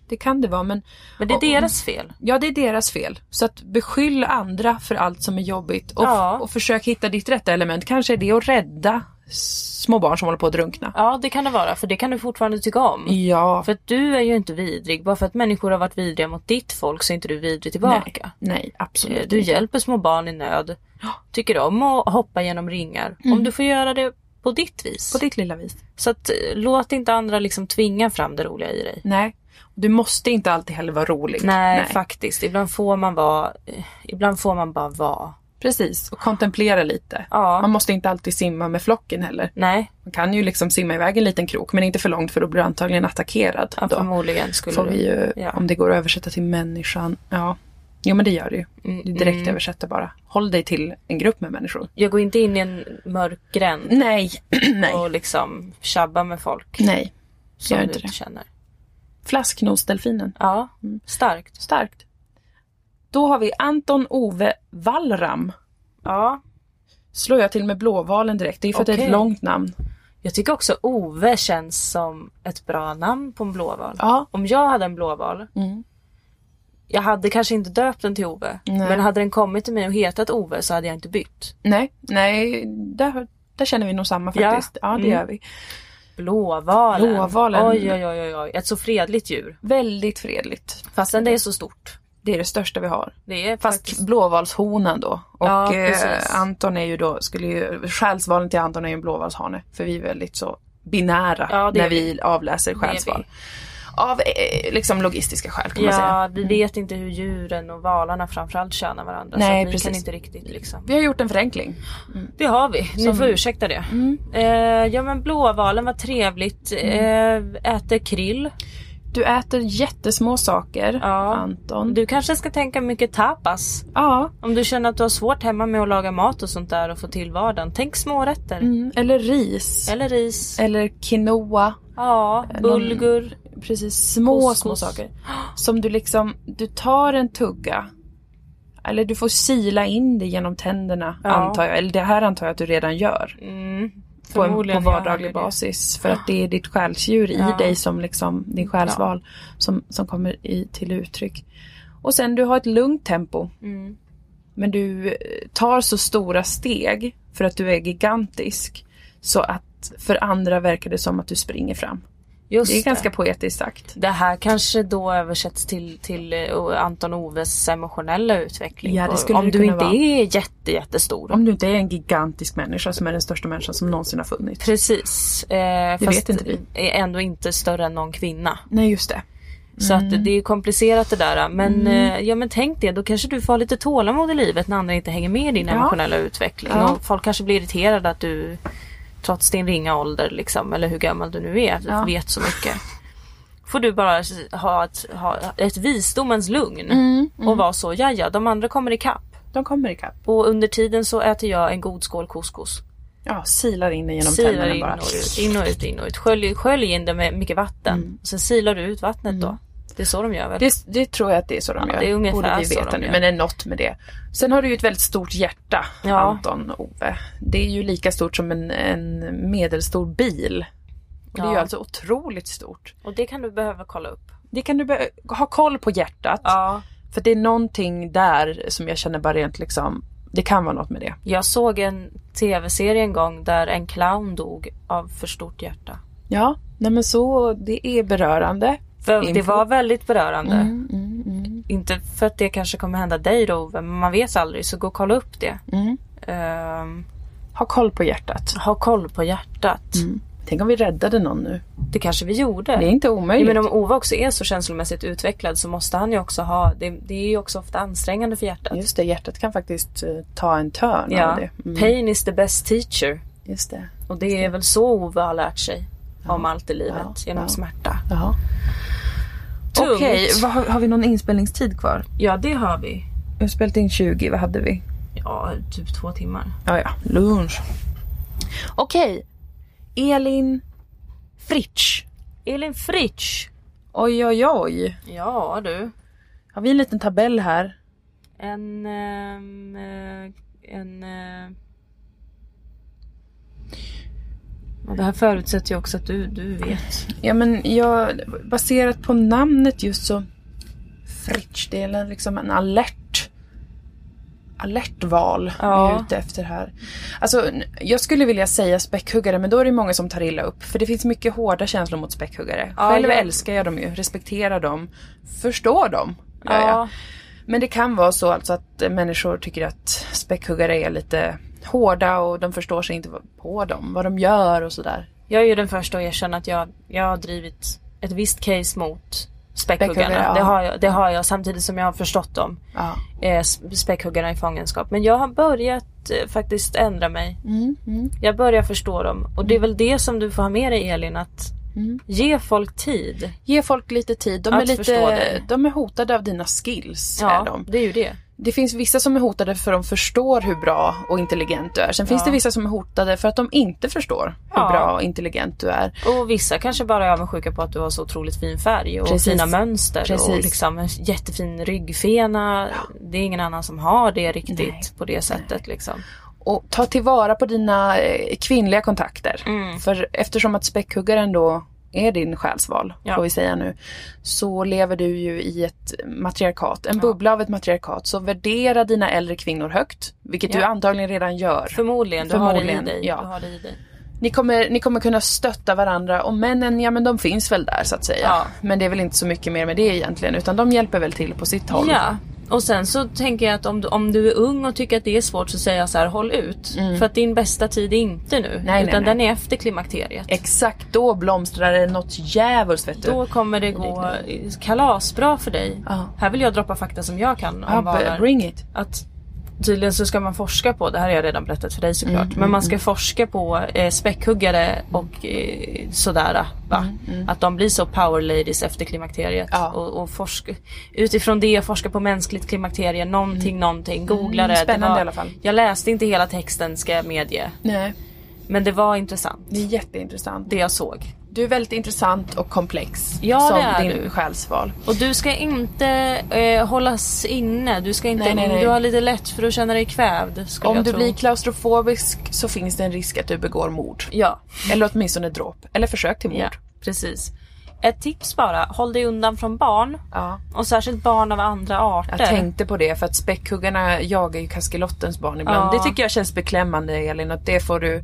Speaker 1: det kan det vara men
Speaker 2: Men det är
Speaker 1: Och-
Speaker 2: deras fel.
Speaker 1: ja det är deras fel. Så att beskyll andra för allt som är jobbigt och,
Speaker 2: Ja.
Speaker 1: och försök hitta ditt rätta element. Kanske är det att rädda små barn som håller på att drunkna.
Speaker 2: Ja, det kan det vara. För det kan du fortfarande tycka om.
Speaker 1: Ja,
Speaker 2: För att du är ju inte vidrig. Bara för att människor har varit vidriga mot ditt folk så är inte du vidrig tillbaka.
Speaker 1: nej
Speaker 2: Eh,
Speaker 1: absolut
Speaker 2: Du
Speaker 1: inte.
Speaker 2: hjälper små barn i nöd. Tycker om att hoppa genom ringar. Om du får göra det på ditt vis.
Speaker 1: Mm. På ditt lilla vis.
Speaker 2: Så att, eh, låt inte andra liksom tvinga fram det roliga i dig.
Speaker 1: Nej. Du måste inte alltid heller vara rolig.
Speaker 2: Nej, faktiskt. Ibland får man vara... eh, Ibland får man bara vara.
Speaker 1: Precis, och kontemplera lite.
Speaker 2: Ja.
Speaker 1: Man måste inte alltid simma med flocken heller.
Speaker 2: Nej,
Speaker 1: Man kan ju liksom simma iväg en liten krok men inte för långt för då blir du antagligen attackerad.
Speaker 2: ja,
Speaker 1: då
Speaker 2: förmodligen skulle
Speaker 1: får
Speaker 2: du...
Speaker 1: vi ju,
Speaker 2: Ja.
Speaker 1: om det går att översätta till människan, ja. Jo men det gör det ju.
Speaker 2: Mm,
Speaker 1: Det är direkt
Speaker 2: mm.
Speaker 1: översätta bara. Håll dig till en grupp med människor.
Speaker 2: Jag går inte in i en mörk gränd
Speaker 1: Nej, nej,
Speaker 2: och liksom tjabba med folk
Speaker 1: nej.
Speaker 2: som
Speaker 1: gör
Speaker 2: du
Speaker 1: inte
Speaker 2: inte
Speaker 1: det. Mm.
Speaker 2: känner.
Speaker 1: Flasknosdelfinen.
Speaker 2: Ja, starkt.
Speaker 1: Starkt. Då har vi Anton Ove Wallram.
Speaker 2: Ja.
Speaker 1: Slår jag till med blåvalen direkt. Det är för att det är ett
Speaker 2: Okej.
Speaker 1: långt namn.
Speaker 2: Jag tycker också Ove känns som ett bra namn på en blåval.
Speaker 1: Ja,
Speaker 2: Om jag hade en blåval,
Speaker 1: Mm.
Speaker 2: jag hade kanske inte döpt den till Ove,
Speaker 1: Nej.
Speaker 2: men hade den kommit till mig och hetat Ove så hade jag inte bytt.
Speaker 1: Nej, nej där, där känner vi nog samma
Speaker 2: Ja.
Speaker 1: faktiskt. Ja, det
Speaker 2: Mm.
Speaker 1: gör vi.
Speaker 2: Blåvalen.
Speaker 1: Blåvalen.
Speaker 2: Oj, oj, oj, oj, oj. Ett så fredligt djur.
Speaker 1: Väldigt fredligt.
Speaker 2: Fastän det är så stort.
Speaker 1: Det är det största vi har.
Speaker 2: Det är
Speaker 1: Fast
Speaker 2: faktiskt...
Speaker 1: blåvalshonan då. Och
Speaker 2: Ja, precis.
Speaker 1: eh, Anton är ju då, skulle ju, själsvalen till Anton är ju en blåvalshane. För vi är väldigt så binära
Speaker 2: Ja, det är
Speaker 1: när vi, avläser själsval. Av eh, liksom logistiska skäl kan man säga. Mm.
Speaker 2: Ja, vi vet inte hur djuren och valarna framförallt tjänar varandra.
Speaker 1: Nej,
Speaker 2: så att vi
Speaker 1: precis.
Speaker 2: kan inte riktigt liksom.
Speaker 1: Vi har gjort en förenkling.
Speaker 2: Det har vi. Ni får ursäkta det. Eh, ja men blåvalen var trevligt.
Speaker 1: Mm.
Speaker 2: Eh, äter krill.
Speaker 1: Du äter jättesmå saker,
Speaker 2: Ja.
Speaker 1: Anton.
Speaker 2: Du kanske ska tänka mycket tapas.
Speaker 1: Ja,
Speaker 2: Om du känner att du har svårt hemma med att laga mat och sånt där och få till vardagen. Tänk smårätter.
Speaker 1: mm. Eh, eller ris.
Speaker 2: Eller ris.
Speaker 1: Eller quinoa.
Speaker 2: Ja,
Speaker 1: eh,
Speaker 2: bulgur.
Speaker 1: Precis, små, små
Speaker 2: Couscous.
Speaker 1: saker. Som du liksom, du tar en tugga. Eller du får sila in det genom tänderna
Speaker 2: Ja.
Speaker 1: antar jag. Eller det här antar jag att du redan gör.
Speaker 2: Mm.
Speaker 1: På, en, på
Speaker 2: Förmodligen gör
Speaker 1: vardaglig
Speaker 2: det.
Speaker 1: basis. För att det är ditt själsdjur i
Speaker 2: Ja.
Speaker 1: dig som liksom, din själsval som, som kommer i, till uttryck. Och sen du har ett lugnt tempo.
Speaker 2: Mm.
Speaker 1: Men du eh, tar så stora steg för att du är gigantisk. Så att för andra verkar det som att du springer fram.
Speaker 2: Just
Speaker 1: Det är ganska poetiskt sagt.
Speaker 2: Det här kanske då översätts till, till eh, Anton Oves emotionella utveckling.
Speaker 1: Ja, det skulle
Speaker 2: om
Speaker 1: det
Speaker 2: du
Speaker 1: kunna
Speaker 2: inte
Speaker 1: vara. Mm.
Speaker 2: är jätte, jättestor.
Speaker 1: Om du inte är en gigantisk människa som är den största människan som någonsin har funnits.
Speaker 2: Precis. Eh,
Speaker 1: Det vet
Speaker 2: fast
Speaker 1: inte vi.
Speaker 2: är ändå inte större än någon kvinna.
Speaker 1: Nej, just det.
Speaker 2: Så
Speaker 1: Mm.
Speaker 2: att det är komplicerat det där. Men, eh, ja, men tänk det, då kanske du får ha lite tålamod i livet när andra inte hänger med i din emotionella utveckling.
Speaker 1: Ja.
Speaker 2: Och folk kanske blir irriterade att du trots din ringa ålder, liksom, eller hur gammal du nu är,
Speaker 1: Ja.
Speaker 2: vet så mycket. Får du bara ha ett, ha ett visdomens lugn
Speaker 1: Mm,
Speaker 2: och vara så, ja ja, de andra kommer ikapp.
Speaker 1: De kommer ikapp.
Speaker 2: Och under tiden så äter jag en god skål couscous.
Speaker 1: Ja, silar in det genom
Speaker 2: Silar
Speaker 1: tänderna
Speaker 2: in
Speaker 1: bara.
Speaker 2: och ut, in och ut, in och ut. Skölj, skölj in det med mycket vatten.
Speaker 1: Mm.
Speaker 2: Sen silar du ut vattnet då. Det är så de gör väl?
Speaker 1: Det, det tror jag att det är så de
Speaker 2: Ja,
Speaker 1: gör.
Speaker 2: det är ungefär
Speaker 1: Borde vi
Speaker 2: så
Speaker 1: veta
Speaker 2: de
Speaker 1: nu.
Speaker 2: gör.
Speaker 1: Men det är något med det. Sen har du ju ett väldigt stort hjärta,
Speaker 2: Ja.
Speaker 1: Anton Ove. Det är ju lika stort som en, en medelstor bil. Och Det är ju
Speaker 2: Ja.
Speaker 1: alltså otroligt stort.
Speaker 2: Och det kan du behöva kolla upp.
Speaker 1: Det kan du be- ha koll på hjärtat.
Speaker 2: Ja.
Speaker 1: För det är någonting där som jag känner bara rent liksom Det kan vara något med det.
Speaker 2: Jag såg en tv-serie en gång där en clown dog av för stort hjärta.
Speaker 1: Ja, nej men så det är berörande.
Speaker 2: För det
Speaker 1: Info.
Speaker 2: var väldigt berörande.
Speaker 1: Mm, mm, mm.
Speaker 2: Inte för att det kanske kommer hända dig då Ove, men man vet aldrig så gå och kolla upp det.
Speaker 1: Mm.
Speaker 2: Ehm,
Speaker 1: Ha koll på hjärtat.
Speaker 2: ha koll på hjärtat.
Speaker 1: Tänk om vi räddade någon nu.
Speaker 2: Det kanske vi gjorde.
Speaker 1: Det är inte
Speaker 2: Ja,
Speaker 1: omöjligt.
Speaker 2: men om Ove också är så känslomässigt utvecklad så måste han ju också ha, det, det är ju också ofta ansträngande för hjärtat.
Speaker 1: Just det, hjärtat kan faktiskt eh, ta en törn av
Speaker 2: Ja.
Speaker 1: det. Mm,
Speaker 2: Pain is the best teacher.
Speaker 1: Just det.
Speaker 2: Och det är väl så Ove har lärt sig om allt i livet
Speaker 1: Ja.
Speaker 2: genom
Speaker 1: Ja.
Speaker 2: smärta.
Speaker 1: Jaha.
Speaker 2: Tungt.
Speaker 1: Okej, vad har, har vi någon inspelningstid kvar?
Speaker 2: Ja, det har vi.
Speaker 1: Vi har spelat in 20, vad hade vi?
Speaker 2: Ja, typ två timmar.
Speaker 1: Ja, ja, lunch. Okej, Elin Fritsch.
Speaker 2: Elin Fritsch.
Speaker 1: Oj, oj, oj.
Speaker 2: Ja, du.
Speaker 1: Har vi en liten tabell här?
Speaker 2: En... ehm, eh, en... eh, Ja, Det här förutsätter ju också att du, du vet.
Speaker 1: Ja, men jag, baserat på namnet just så... Fritsch, det är en- liksom en alert... Alertval
Speaker 2: Ja.
Speaker 1: vi är ute efter här. Alltså, n- jag skulle vilja säga späckhuggare, men då är det många som tar illa upp. För det finns mycket hårda känslor mot späckhuggare.
Speaker 2: Ja,
Speaker 1: Själv
Speaker 2: jag-
Speaker 1: älskar jag dem ju, respekterar dem, förstår dem. gör jag.
Speaker 2: Ja,
Speaker 1: Men det kan vara så alltså att eh, människor tycker att späckhuggare är lite hårda och de förstår sig inte på dem, vad de gör och sådär.
Speaker 2: jag är ju den första att erkänna att jag, jag har drivit ett visst case mot späckhuggarna.
Speaker 1: Späckhuggare, ja.
Speaker 2: Det, har jag, det har jag samtidigt som jag har förstått dem.
Speaker 1: Ja.
Speaker 2: eh, sp- späckhuggarna i fångenskap. Men jag har börjat eh, faktiskt ändra mig.
Speaker 1: Mm,
Speaker 2: Jag börjar förstå dem. Och det är väl det som du får ha med dig Elin, att
Speaker 1: Mm.
Speaker 2: ge folk tid.
Speaker 1: Ge folk lite tid. De
Speaker 2: Att
Speaker 1: är,
Speaker 2: förstå
Speaker 1: lite,
Speaker 2: dig.
Speaker 1: de är hotade av dina skills. Är de.
Speaker 2: det är ju det.
Speaker 1: Det finns vissa som är hotade för de förstår hur bra och intelligent du är. Sen finns det vissa som är hotade för att de inte förstår hur
Speaker 2: Ja.
Speaker 1: bra och intelligent du är.
Speaker 2: Och vissa kanske bara är avundsjuka på att du har så otroligt fin färg och
Speaker 1: Precis.
Speaker 2: fina mönster och
Speaker 1: Precis.
Speaker 2: liksom en jättefin ryggfena. Det är ingen annan som har det riktigt på det sättet liksom.
Speaker 1: Och ta tillvara på dina eh, kvinnliga kontakter.
Speaker 2: Mm.
Speaker 1: För eftersom att späckhuggaren då är din själsval,
Speaker 2: Ja.
Speaker 1: får vi säga nu, så lever du ju i ett matriarkat, en bubbla av ett matriarkat. Så värdera dina äldre kvinnor högt, vilket du
Speaker 2: Ja.
Speaker 1: antagligen redan gör.
Speaker 2: Förmodligen, du har
Speaker 1: Förmodligen,
Speaker 2: det i dig.
Speaker 1: ja.
Speaker 2: Du har det i dig.
Speaker 1: Ni kommer, ni kommer kunna stötta varandra och männen, ja men de finns väl där så att säga.
Speaker 2: Ja.
Speaker 1: Men det är väl inte så mycket mer med det egentligen utan de hjälper väl till på sitt håll.
Speaker 2: Ja. Och sen så tänker jag att om du, om du är ung och tycker att det är svårt så säger jag så här håll ut. För att din bästa tid är inte nu.
Speaker 1: Mm. nej,
Speaker 2: utan
Speaker 1: nej.
Speaker 2: den är efter klimakteriet.
Speaker 1: Exakt, då blomstrar det något djävulskt vet du.
Speaker 2: Då kommer det gå kalasbra för dig.
Speaker 1: Ja.
Speaker 2: Här vill jag droppa fakta som jag kan om
Speaker 1: Ja,
Speaker 2: valar.
Speaker 1: b- bring it.
Speaker 2: Att tydligen så ska man forska på, det här har jag redan berättat för dig såklart,
Speaker 1: Mm,
Speaker 2: men man ska forska på eh, späckhuggare och eh, sådär. Va? Att de blir så power ladies efter klimakteriet.
Speaker 1: Mm, Ja.
Speaker 2: Och, och forska, utifrån det forska på mänskligt klimakterie, någonting, någonting. Googla
Speaker 1: Mm,
Speaker 2: det.
Speaker 1: spännande
Speaker 2: det var,
Speaker 1: i alla fall.
Speaker 2: Jag läste inte hela texten ska jag medge.
Speaker 1: Nej,
Speaker 2: Men det var intressant
Speaker 1: det är jätteintressant.
Speaker 2: det jag såg.
Speaker 1: Du är väldigt intressant och komplex
Speaker 2: Ja,
Speaker 1: som
Speaker 2: det är
Speaker 1: din
Speaker 2: du.
Speaker 1: själsval.
Speaker 2: Och du ska inte eh, hållas inne. Du ska inte,
Speaker 1: Nej, nej, nej.
Speaker 2: du har lite lätt för att känna dig kvävd. Skulle
Speaker 1: Om
Speaker 2: jag
Speaker 1: du
Speaker 2: tro.
Speaker 1: blir klaustrofobisk så finns det en risk att du begår mord.
Speaker 2: Ja,
Speaker 1: Eller åtminstone dråp. Eller försök till mord.
Speaker 2: ja, precis. Ett tips bara. Håll dig undan från barn.
Speaker 1: Ja.
Speaker 2: Och särskilt barn av andra arter.
Speaker 1: Jag tänkte på det för att späckhuggarna jagar ju kaskelottens barn ibland.
Speaker 2: Ja.
Speaker 1: Det tycker jag känns beklämmande Elin att det får du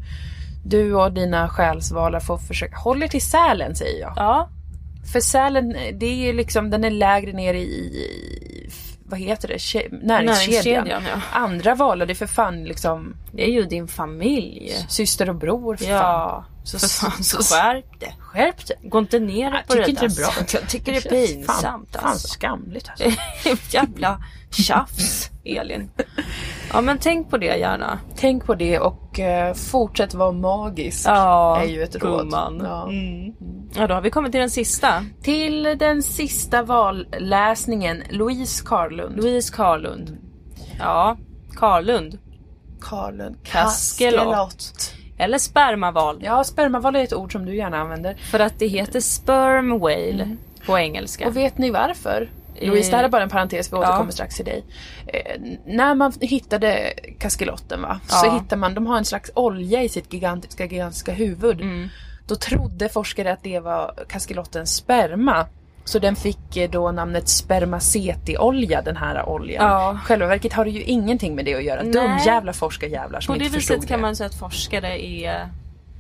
Speaker 1: du och dina själsvalar får försöka, håll er till sälen säger jag.
Speaker 2: Ja,
Speaker 1: För sälen, det är ju liksom, den är lägre ner i, i vad heter det, Ke- näringskedjan.
Speaker 2: näringskedjan. Ja.
Speaker 1: Andra valar, det är för fan liksom
Speaker 2: Det är ju din familj.
Speaker 1: syster och bror för fan.
Speaker 2: Ja,
Speaker 1: Så,
Speaker 2: för fan.
Speaker 1: så,
Speaker 2: Så skärp dig.
Speaker 1: skärp dig.
Speaker 2: Gå inte ner
Speaker 1: Jag
Speaker 2: på det
Speaker 1: tycker inte det
Speaker 2: där.
Speaker 1: är bra.
Speaker 2: Jag tycker det är pinsamt
Speaker 1: fan,
Speaker 2: alltså.
Speaker 1: Fan skamligt alltså.
Speaker 2: Jävla tjafs, Elin. Ja, men tänk på det gärna.
Speaker 1: Tänk på det och eh, fortsätt vara magisk.
Speaker 2: Ja,
Speaker 1: är ju ett råd.
Speaker 2: gumman.
Speaker 1: Ja.
Speaker 2: Mm. ja, då har vi kommit till den sista.
Speaker 1: Till den sista valläsningen, Louise Karlund.
Speaker 2: Louise Karlund. Ja, Karlund.
Speaker 1: Karlund.
Speaker 2: Kaskelot. Eller spermaval.
Speaker 1: Ja, spermaval är ett ord som du gärna använder.
Speaker 2: För att det heter sperm whale på engelska.
Speaker 1: Och vet ni varför? Louise, det här är bara en parentes, vi återkommer strax till dig. Eh, n- när man hittade kaskelotten va, så
Speaker 2: Ja.
Speaker 1: hittar man, de har en slags olja i sitt gigantiska,
Speaker 2: Mm.
Speaker 1: gigantiska huvud. Då trodde forskare att det var kaskelottens sperma. Så den fick eh, då namnet spermaceti-olja, den här oljan.
Speaker 2: Ja.
Speaker 1: Själva verket har det ju ingenting med det att göra.
Speaker 2: Nej.
Speaker 1: Dumjävla forskarjävlar som
Speaker 2: På det
Speaker 1: inte förstod
Speaker 2: viset kan man säga att forskare är...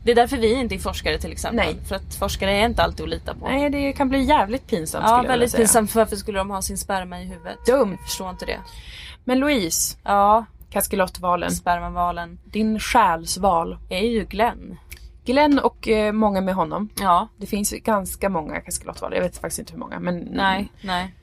Speaker 2: Det är därför vi inte är forskare till exempel.
Speaker 1: Nej.
Speaker 2: För att forskare är inte alltid att lita på.
Speaker 1: Nej, det kan bli jävligt pinsamt
Speaker 2: ja,
Speaker 1: skulle jag vilja
Speaker 2: väldigt
Speaker 1: säga.
Speaker 2: pinsamt. För varför skulle de ha sin sperma i huvudet?
Speaker 1: Dumt.
Speaker 2: Jag förstår inte det.
Speaker 1: Men Louise,
Speaker 2: Ja,
Speaker 1: Kaskelottvalen.
Speaker 2: spermavalen
Speaker 1: Din själsval.
Speaker 2: är ju Glenn.
Speaker 1: Glenn och eh, många med honom.
Speaker 2: Ja,
Speaker 1: Det finns ganska många kaskelotval. Jag vet faktiskt inte hur många. Men
Speaker 2: nej, nej.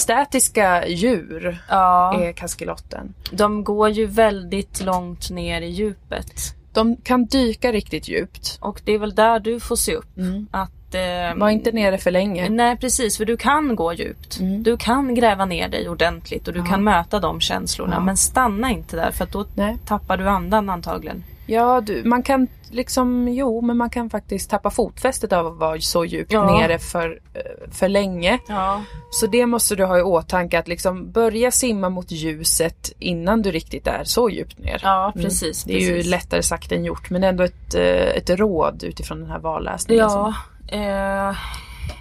Speaker 1: Majestätiska djur
Speaker 2: Ja.
Speaker 1: är kaskelotten.
Speaker 2: De går ju väldigt långt ner i djupet.
Speaker 1: De kan dyka riktigt djupt.
Speaker 2: Och det är väl där du får se upp. Att, eh,
Speaker 1: Var inte nere för länge.
Speaker 2: Nej precis, för du kan gå djupt.
Speaker 1: Mm.
Speaker 2: Du kan gräva ner dig ordentligt och du kan möta de känslorna. Men stanna inte där för att då
Speaker 1: Nej.
Speaker 2: tappar du andan antagligen.
Speaker 1: Ja, du, man kan liksom, jo, men man kan faktiskt tappa fotfästet av att vara så djupt
Speaker 2: Ja.
Speaker 1: nere för, eh, för länge.
Speaker 2: Ja.
Speaker 1: Så det måste du ha i åtanke att liksom börja simma mot ljuset innan du riktigt är så djupt ner.
Speaker 2: Ja, precis.
Speaker 1: Mm. Det är ju
Speaker 2: precis.
Speaker 1: lättare sagt än gjort men ändå ett, eh, ett råd utifrån den här valläsningen.
Speaker 2: Ja.
Speaker 1: som-
Speaker 2: Eh,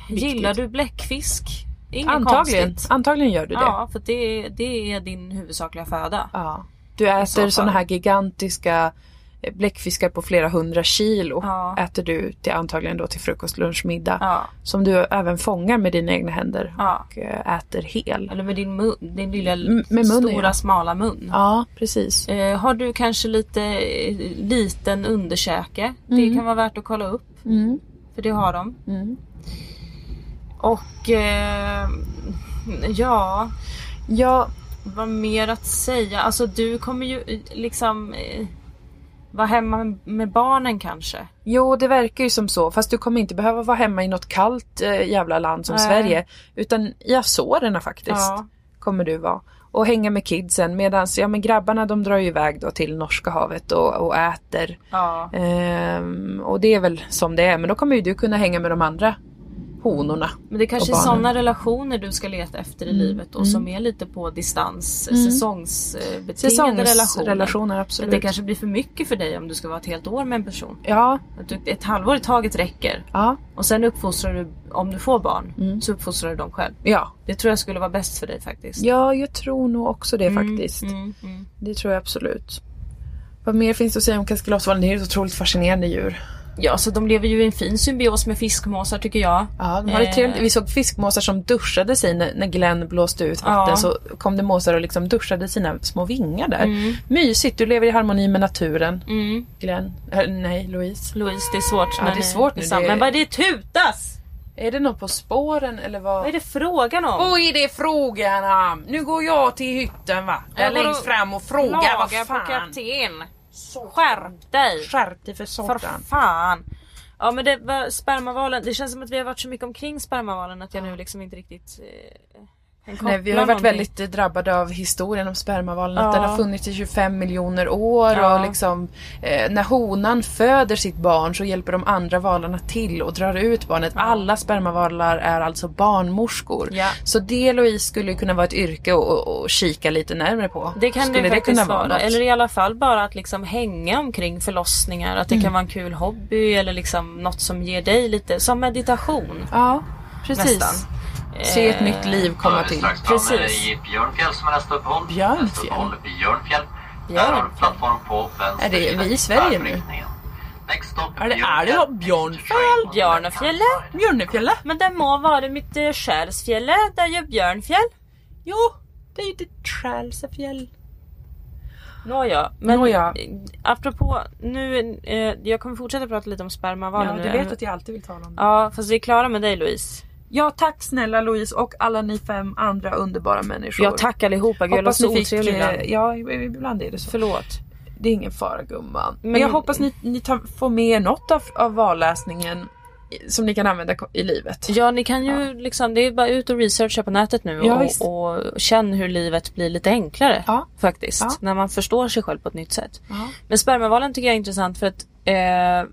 Speaker 2: gillar du bläckfisk? Inget
Speaker 1: antagligen,
Speaker 2: konstigt.
Speaker 1: antagligen gör du det. Ja.
Speaker 2: Ja, för det, det är din huvudsakliga föda.
Speaker 1: Du
Speaker 2: så
Speaker 1: äter
Speaker 2: fall.
Speaker 1: sådana här gigantiska eh, bläckfiskar på flera hundra kilo.
Speaker 2: Ja.
Speaker 1: Äter du till, antagligen då till frukost, lunch, middag.
Speaker 2: Ja.
Speaker 1: Som du även fångar med dina egna händer
Speaker 2: Ja.
Speaker 1: och eh, äter hel.
Speaker 2: Eller med din, mun, din lilla
Speaker 1: M- med munnen,
Speaker 2: stora
Speaker 1: ja.
Speaker 2: smala mun.
Speaker 1: Ja, precis.
Speaker 2: Eh, har du kanske lite eh, liten underkäke?
Speaker 1: Mm.
Speaker 2: Det kan vara värt att kolla upp. För det har de. Och eh, ja,
Speaker 1: Ja,
Speaker 2: vad mer att säga? Alltså du kommer ju eh, liksom eh, vara hemma med barnen kanske.
Speaker 1: Jo, det verkar ju som så. Fast du kommer inte behöva vara hemma i något kallt eh, jävla land som
Speaker 2: Nej.
Speaker 1: Sverige. Utan i Azorerna faktiskt
Speaker 2: Ja.
Speaker 1: kommer du vara. Och hänga med kidsen medan ja, men grabbarna de drar ju iväg då till Norska havet och, och äter.
Speaker 2: Ja.
Speaker 1: Ehm, och det är väl som det är. Men då kommer ju du kunna hänga med de andra honorna.
Speaker 2: Men det kanske är
Speaker 1: Och barnen. Mm.
Speaker 2: sådana relationer du ska leta efter i livet då som är lite på distans, säsongsbetingade relationer.
Speaker 1: Säsongsrelationer,
Speaker 2: Att
Speaker 1: Mm. absolut.
Speaker 2: det kanske blir för mycket för dig om du ska vara ett helt år med en person.
Speaker 1: Ja,
Speaker 2: Att du, ett halvår i taget räcker.
Speaker 1: ja,
Speaker 2: Och sen uppfostrar du, om du får barn,
Speaker 1: Mm.
Speaker 2: så uppfostrar du dem själv.
Speaker 1: ja.
Speaker 2: Det tror jag skulle vara bäst för dig faktiskt.
Speaker 1: Ja, jag tror nog också det faktiskt.
Speaker 2: Mm, mm.
Speaker 1: Det tror jag absolut. Vad mer finns det att säga om kaskelottvalen? Det är ju ett otroligt fascinerande djur.
Speaker 2: Ja, så de lever ju i en fin symbios med fiskmåsar tycker jag.
Speaker 1: Ja, de hade
Speaker 2: Eh.
Speaker 1: trevligt. Vi såg fiskmåsar som duschade sig när, när Glenn blåste ut vatten
Speaker 2: Ja.
Speaker 1: så kom det måsar och liksom duschade sina små vingar där. Mysigt, du lever i harmoni med naturen.
Speaker 2: Mm.
Speaker 1: Glenn, eh, nej Louise.
Speaker 2: Louise, det är svårt.
Speaker 1: Ja,
Speaker 2: när
Speaker 1: det är
Speaker 2: ni-
Speaker 1: svårt nu,
Speaker 2: tillsammans.
Speaker 1: det är-
Speaker 2: Men vad är det tutas?
Speaker 1: Är det någon på spåren eller
Speaker 2: Vad är
Speaker 1: vad?
Speaker 2: det frågan om?
Speaker 1: Vad är det frågan om? Nu går jag till hytten va?
Speaker 2: Jag
Speaker 1: Där
Speaker 2: går
Speaker 1: längst
Speaker 2: och
Speaker 1: fram och frågar
Speaker 2: Klaga
Speaker 1: vad
Speaker 2: på
Speaker 1: fan.
Speaker 2: kapten. Skärp dig!
Speaker 1: Skärp dig för
Speaker 2: För
Speaker 1: satan.
Speaker 2: fan! Ja men det var spermavalen, det känns som att vi har varit så mycket omkring spermavalen att jag nu liksom inte riktigt eh, kan koppla
Speaker 1: Nej, vi har ju varit
Speaker 2: någonting.
Speaker 1: väldigt eh, drabbade av historien om spermavalen. Att
Speaker 2: Ja.
Speaker 1: den har funnits i 25 miljoner år
Speaker 2: Ja.
Speaker 1: och liksom eh, när honan föder sitt barn så hjälper de andra valarna till och drar ut barnet. Alla spermavalar är alltså barnmorskor.
Speaker 2: Ja.
Speaker 1: Så det Louise skulle ju kunna vara ett yrke och, och, och kika lite närmare på.
Speaker 2: Det kan
Speaker 1: skulle
Speaker 2: det faktiskt
Speaker 1: kunna
Speaker 2: vara.
Speaker 1: något?
Speaker 2: Eller i alla fall bara att liksom hänga omkring förlossningar. Att det
Speaker 1: Mm.
Speaker 2: kan vara en kul hobby eller liksom något som ger dig lite, som meditation
Speaker 1: Ja, precis.
Speaker 2: nästan.
Speaker 1: Se ett nytt liv komma till.
Speaker 2: Precis.
Speaker 10: eh, i Björnfjäll som är nästa uppehåll.
Speaker 1: Björnfjäll?
Speaker 10: Nästa uppehåll i Björnfjäll. Där har du plattform på vänster
Speaker 1: Är det
Speaker 10: sida
Speaker 1: vi i Sverige nu?
Speaker 10: färdriktningen. Next stop
Speaker 1: Är det- är det då Björnfjäll?
Speaker 2: Björnafjälle?
Speaker 1: Björnefjälla?
Speaker 2: Men det må vara mitt eh, skärsfjälle, där gör björnfjäll.
Speaker 1: Jo, det är ju det Trälsefjäll.
Speaker 2: Nåja, men
Speaker 1: Nåja.
Speaker 2: eh, apropå nu, eh, jag kommer fortsätta prata lite om spermavalen
Speaker 1: Ja,
Speaker 2: nu.
Speaker 1: du vet att jag alltid vill tala om det.
Speaker 2: Ja, fast vi är klara med dig Louise.
Speaker 1: Ja, tack snälla Louise och alla ni fem andra underbara människor.
Speaker 2: Ja, tack allihopa. Gud, jag låter
Speaker 1: Hoppas
Speaker 2: så
Speaker 1: ni fick...
Speaker 2: otrevlig ibland.
Speaker 1: eh, Ja, ibland är det så.
Speaker 2: Förlåt.
Speaker 1: Det är ingen fara gumman. Men
Speaker 2: Men-
Speaker 1: jag hoppas ni, ni tar, får med er något av, av valläsningen i- som ni kan använda ko- i livet.
Speaker 2: Ja, ni kan ju liksom, det är bara ut och researcha på nätet nu
Speaker 1: Ja, visst.
Speaker 2: och, och känn hur livet blir lite enklare
Speaker 1: Ja.
Speaker 2: faktiskt.
Speaker 1: Ja.
Speaker 2: När man förstår sig själv på ett nytt sätt.
Speaker 1: Ja.
Speaker 2: Men spermavalen tycker jag är intressant för att eh,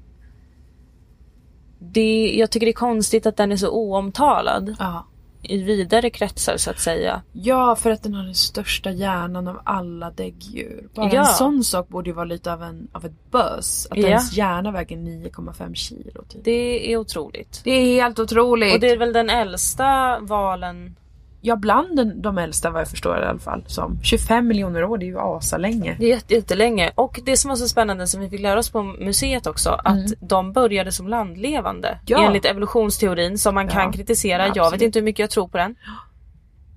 Speaker 2: det, jag tycker det är konstigt att den är så oomtalad.
Speaker 1: Ja.
Speaker 2: i vidare kretsar så att säga.
Speaker 1: Ja, för att den har den största hjärnan av alla däggdjur. Bara
Speaker 2: Ja.
Speaker 1: en sån sak borde ju vara lite av, en, av ett buzz. Att
Speaker 2: Ja.
Speaker 1: ens hjärna väger 9,5 kilo. Typ.
Speaker 2: Det är otroligt.
Speaker 1: Det är helt otroligt.
Speaker 2: Och det är väl den äldsta valen.
Speaker 1: Ja, bland den, de äldsta vad jag förstår i alla fall. Som 25 miljoner år, det är ju asalänge.
Speaker 2: Det är jätte- jättelänge. Och det som var så spännande som vi fick lära oss på museet också, att de började som landlevande.
Speaker 1: Mm. Ja.
Speaker 2: Enligt evolutionsteorin som man kan
Speaker 1: Ja.
Speaker 2: kritisera. jag
Speaker 1: absolut.
Speaker 2: vet inte hur mycket jag tror på den.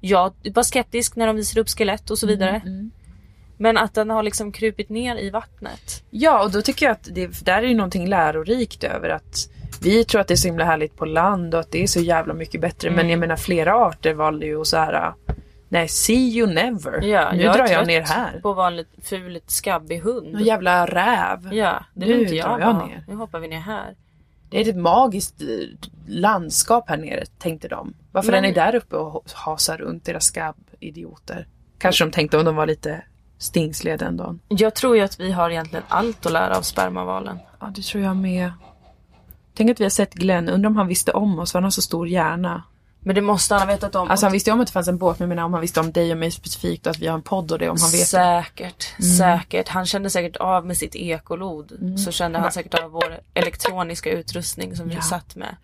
Speaker 2: Jag var skeptisk när de visade upp skelett och så
Speaker 1: Mm,
Speaker 2: vidare. Men att den har liksom krupit ner i vattnet.
Speaker 1: Ja, och då tycker jag att det där är ju någonting lärorikt över att vi tror att det är så himla härligt på land och att det är så jävla mycket bättre. Men jag menar flera arter valde ju att så här. Nej, see you never.
Speaker 2: Ja,
Speaker 1: nu
Speaker 2: är
Speaker 1: drar jag
Speaker 2: trött
Speaker 1: ner här.
Speaker 2: på att vara en lit- ful, lite skabbig hund.
Speaker 1: Någon jävla räv.
Speaker 2: Ja, det
Speaker 1: Nu
Speaker 2: vill inte jag,
Speaker 1: drar jag
Speaker 2: vara.
Speaker 1: ner.
Speaker 2: Nu hoppar vi ner här.
Speaker 1: Det är ett magiskt eh, landskap här nere, tänkte de. Varför
Speaker 2: Men-
Speaker 1: är ni där uppe och ho- hasar runt era skabbidioter? Kanske de tänkte om de var lite stingsliga den dagen.
Speaker 2: Jag tror ju att vi har egentligen allt att lära av spermavalen.
Speaker 1: Ja, det tror jag med. Tänk att vi har sett Glenn. Undrar om han visste om oss, för han har så stor hjärna.
Speaker 2: Men det måste han ha vetat om.
Speaker 1: Alltså han visste ju om att det fanns en båt, men jag menar om han visste om dig och mig specifikt och att vi har en podd och det, om han vet. Mm.
Speaker 2: Säkert, säkert. Han kände säkert av med sitt ekolod. Så kände han säkert av vår elektroniska utrustning som vi satt med.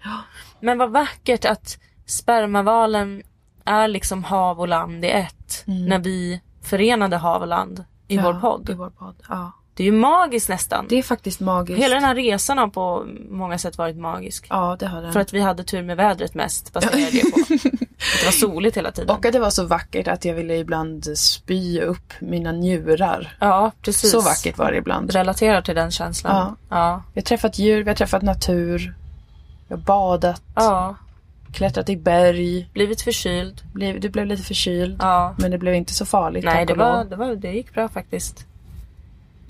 Speaker 2: Men vad vackert att spermavalen är liksom hav och land i ett. När vi förenade hav och land i vår
Speaker 1: Mm. I
Speaker 2: podd.
Speaker 1: vår podd. Ja.
Speaker 2: Det är ju magiskt nästan.
Speaker 1: Det är faktiskt magiskt.
Speaker 2: Hela den här resan har på många sätt varit magisk.
Speaker 1: Ja, det har den.
Speaker 2: För att vi hade tur med vädret mest baserar jag det på. Att det var soligt hela tiden.
Speaker 1: Och att det var så vackert att jag ville ibland spy upp mina njurar.
Speaker 2: ja, precis.
Speaker 1: Så vackert var det ibland.
Speaker 2: Relaterar till den känslan. Ja.
Speaker 1: Vi har träffat djur, vi har träffat natur. Vi har badat,
Speaker 2: ja.
Speaker 1: klättrat i berg.
Speaker 2: Blivit förkyld.
Speaker 1: Blev, du blev lite förkyld.
Speaker 2: Ja.
Speaker 1: Men det blev inte så farligt.
Speaker 2: Nej,
Speaker 1: tack
Speaker 2: det,
Speaker 1: och
Speaker 2: var,
Speaker 1: lov.
Speaker 2: det, var, det gick bra faktiskt.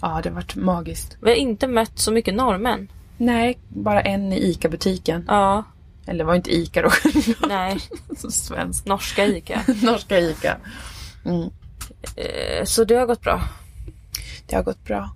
Speaker 1: Ja, det har varit magiskt.
Speaker 2: Vi har inte mött så mycket norrmän.
Speaker 1: Nej, bara en i ICA-butiken.
Speaker 2: Ja,
Speaker 1: Eller det var inte ICA då.
Speaker 2: nej.
Speaker 1: så svenskt.
Speaker 2: Norska ICA.
Speaker 1: Norska ICA.
Speaker 2: Eh, Så det har gått bra.
Speaker 1: Det har gått bra.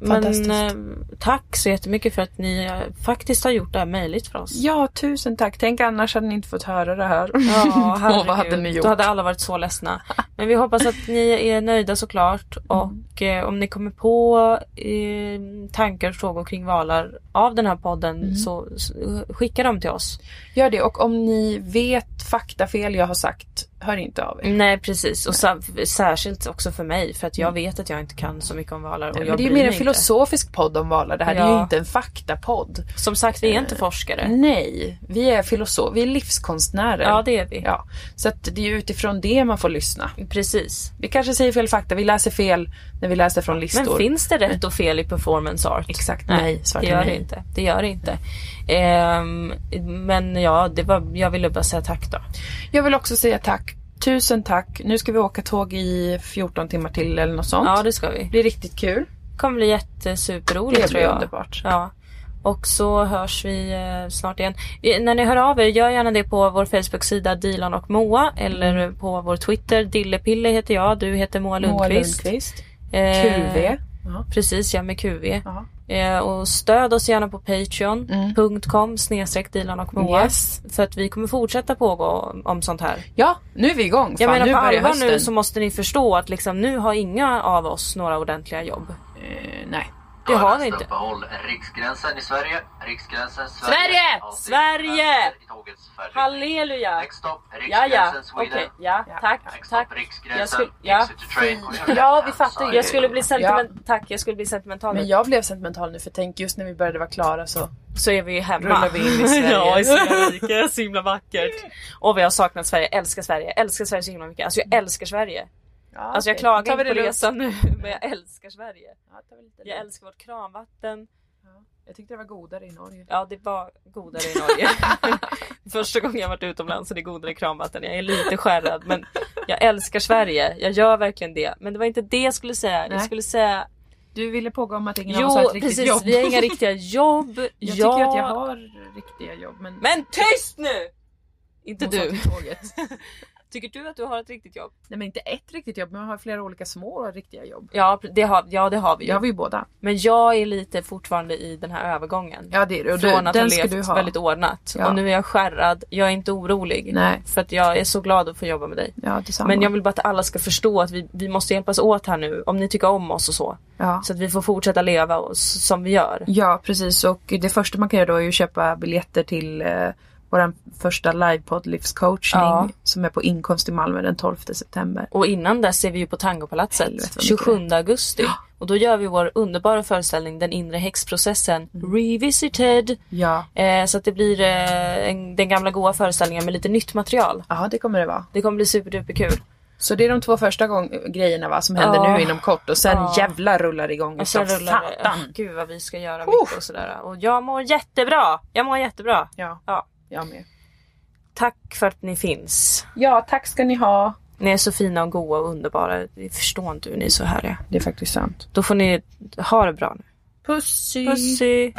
Speaker 2: Men
Speaker 1: Fantastiskt.
Speaker 2: eh, tack så jättemycket för att ni eh, faktiskt har gjort det här möjligt för oss.
Speaker 1: Ja, tusen tack. Tänk annars hade ni inte fått höra det här.
Speaker 2: Ja,
Speaker 1: Åh, vad hade
Speaker 2: herregud.
Speaker 1: ni gjort?
Speaker 2: Då hade alla varit så ledsna. Men vi hoppas att ni är nöjda såklart och eh, om ni kommer på eh, tankar och frågor kring valar av den här podden så, så skicka dem till oss.
Speaker 1: Gör det och om ni vet faktafel jag har sagt, hör inte av er.
Speaker 2: Nej precis och sa- särskilt också för mig för att jag vet att jag inte kan så mycket om valar och jag
Speaker 1: Mm. Men det är
Speaker 2: bryr
Speaker 1: ju mer
Speaker 2: mig
Speaker 1: en
Speaker 2: inte.
Speaker 1: filosofisk podd om valar. Det här är
Speaker 2: Ja.
Speaker 1: ju inte en faktapodd.
Speaker 2: Som sagt
Speaker 1: Eh,
Speaker 2: vi är inte
Speaker 1: Mm.
Speaker 2: forskare.
Speaker 1: Nej, vi är filosofer, vi är livskonstnärer.
Speaker 2: Ja det är vi.
Speaker 1: Ja, så att det är ju utifrån det man får lyssna.
Speaker 2: Precis.
Speaker 1: Vi kanske säger fel fakta, vi läser fel när vi läser från listor. Mm.
Speaker 2: Men finns det rätt och fel i performance art?
Speaker 1: Exakt,
Speaker 2: Nej,
Speaker 1: nej, svart
Speaker 2: det gör
Speaker 1: nej.
Speaker 2: det inte. Det gör det inte. Ehm, men ja, det var, jag ville bara säga tack då.
Speaker 1: Jag vill också säga tack. Tusen tack. Nu ska vi åka tåg i 14 timmar till eller något sånt.
Speaker 2: Ja, det ska vi.
Speaker 1: blir riktigt kul.
Speaker 2: Det kommer bli jättesuperroligt
Speaker 1: Det
Speaker 2: tror
Speaker 1: blir
Speaker 2: jag.
Speaker 1: underbart.
Speaker 2: Ja. Och så hörs vi eh, snart igen. Eh, När ni hör av er, gör gärna det på vår Facebook-sida Dilan och Moa eller på vår Twitter. Dillepille heter jag, du heter Moa
Speaker 1: Mm. Moa
Speaker 2: Lundqvist.
Speaker 1: Lundqvist.
Speaker 2: Eh,
Speaker 1: QV. Ja.
Speaker 2: Precis, jag med QV.
Speaker 1: Ja. Mm.
Speaker 2: Eh, och stöd oss gärna på patreon.com snedstreck Dilan och Moa.
Speaker 1: Yes.
Speaker 2: För att vi kommer fortsätta pågå om, om sånt här.
Speaker 1: Ja, nu är vi igång.
Speaker 2: Jag
Speaker 1: Fan,
Speaker 2: menar
Speaker 1: nu
Speaker 2: på
Speaker 1: börjar
Speaker 2: allvar
Speaker 1: hösten.
Speaker 2: nu så måste ni förstå att liksom, nu har inga av oss några ordentliga jobb.
Speaker 1: Eh, nej.
Speaker 2: Det har vi inte.
Speaker 10: Uppehåll. Riksgränsen i Sverige. Riksgränsen Sverige.
Speaker 2: Sverige!
Speaker 10: Alltid
Speaker 2: Sverige!
Speaker 10: vänster i tågets färdriktning.
Speaker 2: Halleluja!
Speaker 10: Next stop,
Speaker 2: Ja,
Speaker 10: Riksgränsen
Speaker 2: ja, okej,
Speaker 10: Sweden.
Speaker 2: ja, tack,
Speaker 10: Next
Speaker 2: tack.
Speaker 10: stop,
Speaker 2: Jag
Speaker 10: Riksgränsen.
Speaker 2: skulle, ja.
Speaker 10: Exit to train.
Speaker 1: Ja, vi fattar ju.
Speaker 2: Jag skulle bli sentiment, tack, jag skulle bli sentimental.
Speaker 1: Men jag blev sentimental nu för tänk just när vi började vara klara så.
Speaker 2: så är vi ju hemma.
Speaker 1: Rullar vi in i Sverige.
Speaker 2: ja, i Sverige. Så himla vackert. Och vi har saknat Sverige. Jag älskar Sverige. Jag älskar Sverige så himla mycket. Alltså jag älskar Sverige.
Speaker 1: Ja,
Speaker 2: Alltså jag
Speaker 1: okej.
Speaker 2: klagar
Speaker 1: Tar vi
Speaker 2: inte
Speaker 1: det
Speaker 2: på
Speaker 1: lugnt?
Speaker 2: resan nu, men jag älskar Sverige.
Speaker 1: Ja, tar vi lite
Speaker 2: Jag
Speaker 1: lugnt.
Speaker 2: älskar vårt kranvatten.
Speaker 1: Jag tyckte det var godare i Norge.
Speaker 2: Ja, det var godare i Norge. Första gången jag varit utomlands så det är godare i kranvatten. Jag är lite skärrad, men jag älskar Sverige. Jag gör verkligen det. Men det var inte det jag skulle säga. Jag
Speaker 1: Nej.
Speaker 2: skulle säga...
Speaker 1: Du ville pågå om att ingen av oss har
Speaker 2: Jo,
Speaker 1: ett riktigt
Speaker 2: precis.
Speaker 1: jobb.
Speaker 2: Vi har inga riktiga jobb.
Speaker 1: Jag tycker att jag har riktiga jobb men...
Speaker 2: Men tyst nu! Inte
Speaker 1: Måste
Speaker 2: du.
Speaker 1: åka tåget.
Speaker 2: Tycker du att du har ett riktigt jobb?
Speaker 1: Nej men inte ett riktigt jobb men jag har flera olika små riktiga jobb.
Speaker 2: Ja det har, ja, det har vi
Speaker 1: Det
Speaker 2: ju.
Speaker 1: har vi ju båda.
Speaker 2: Men jag är lite fortfarande i den här övergången.
Speaker 1: Ja det är det. Och
Speaker 2: Från
Speaker 1: du,
Speaker 2: att
Speaker 1: den
Speaker 2: ha
Speaker 1: ska du
Speaker 2: levt
Speaker 1: ha.
Speaker 2: väldigt ordnat.
Speaker 1: Ja.
Speaker 2: Och nu är jag skärrad. Jag är inte orolig.
Speaker 1: Nej.
Speaker 2: För att jag är så glad att få jobba med dig.
Speaker 1: Ja detsamma.
Speaker 2: Men jag vill bara att alla ska förstå att vi, vi måste hjälpas åt här nu. Om ni tycker om oss och så.
Speaker 1: ja.
Speaker 2: Så att vi får fortsätta leva och, s- som vi gör.
Speaker 1: ja precis och det första man kan göra då är ju att köpa biljetter till eh, vår första livepodd livscoachning
Speaker 2: Ja.
Speaker 1: som är på Inkomst i Malmö den 12 september.
Speaker 2: Och innan dess är vi ju på Tangopalatset
Speaker 1: Helvete, vad mycket
Speaker 2: 27 augusti. Och då gör vi vår underbara föreställning Den inre häxprocessen Revisited.
Speaker 1: Ja.
Speaker 2: Eh, så att det blir eh, en, den gamla goa föreställningen med lite nytt material.
Speaker 1: Ja det kommer det vara.
Speaker 2: Det kommer bli superduperkul.
Speaker 1: Så det är de två första gång- grejerna va, som händer
Speaker 2: Ja.
Speaker 1: nu inom kort och sen
Speaker 2: Ja.
Speaker 1: jävlar rullar det igång
Speaker 2: Och sen
Speaker 1: utav
Speaker 2: rullar det.
Speaker 1: satan.
Speaker 2: Åh, Gud vad vi ska göra mycket och sådär. Och jag mår jättebra. Jag mår jättebra.
Speaker 1: Ja,
Speaker 2: Ja.
Speaker 1: jag med.
Speaker 2: Tack för att ni finns.
Speaker 1: Ja, tack ska ni ha.
Speaker 2: Ni är så fina och goa och underbara. Vi förstår inte hur ni är så härliga.
Speaker 1: Det är faktiskt sant.
Speaker 2: Då får ni ha det bra nu.
Speaker 1: Pussy!
Speaker 2: Pussy!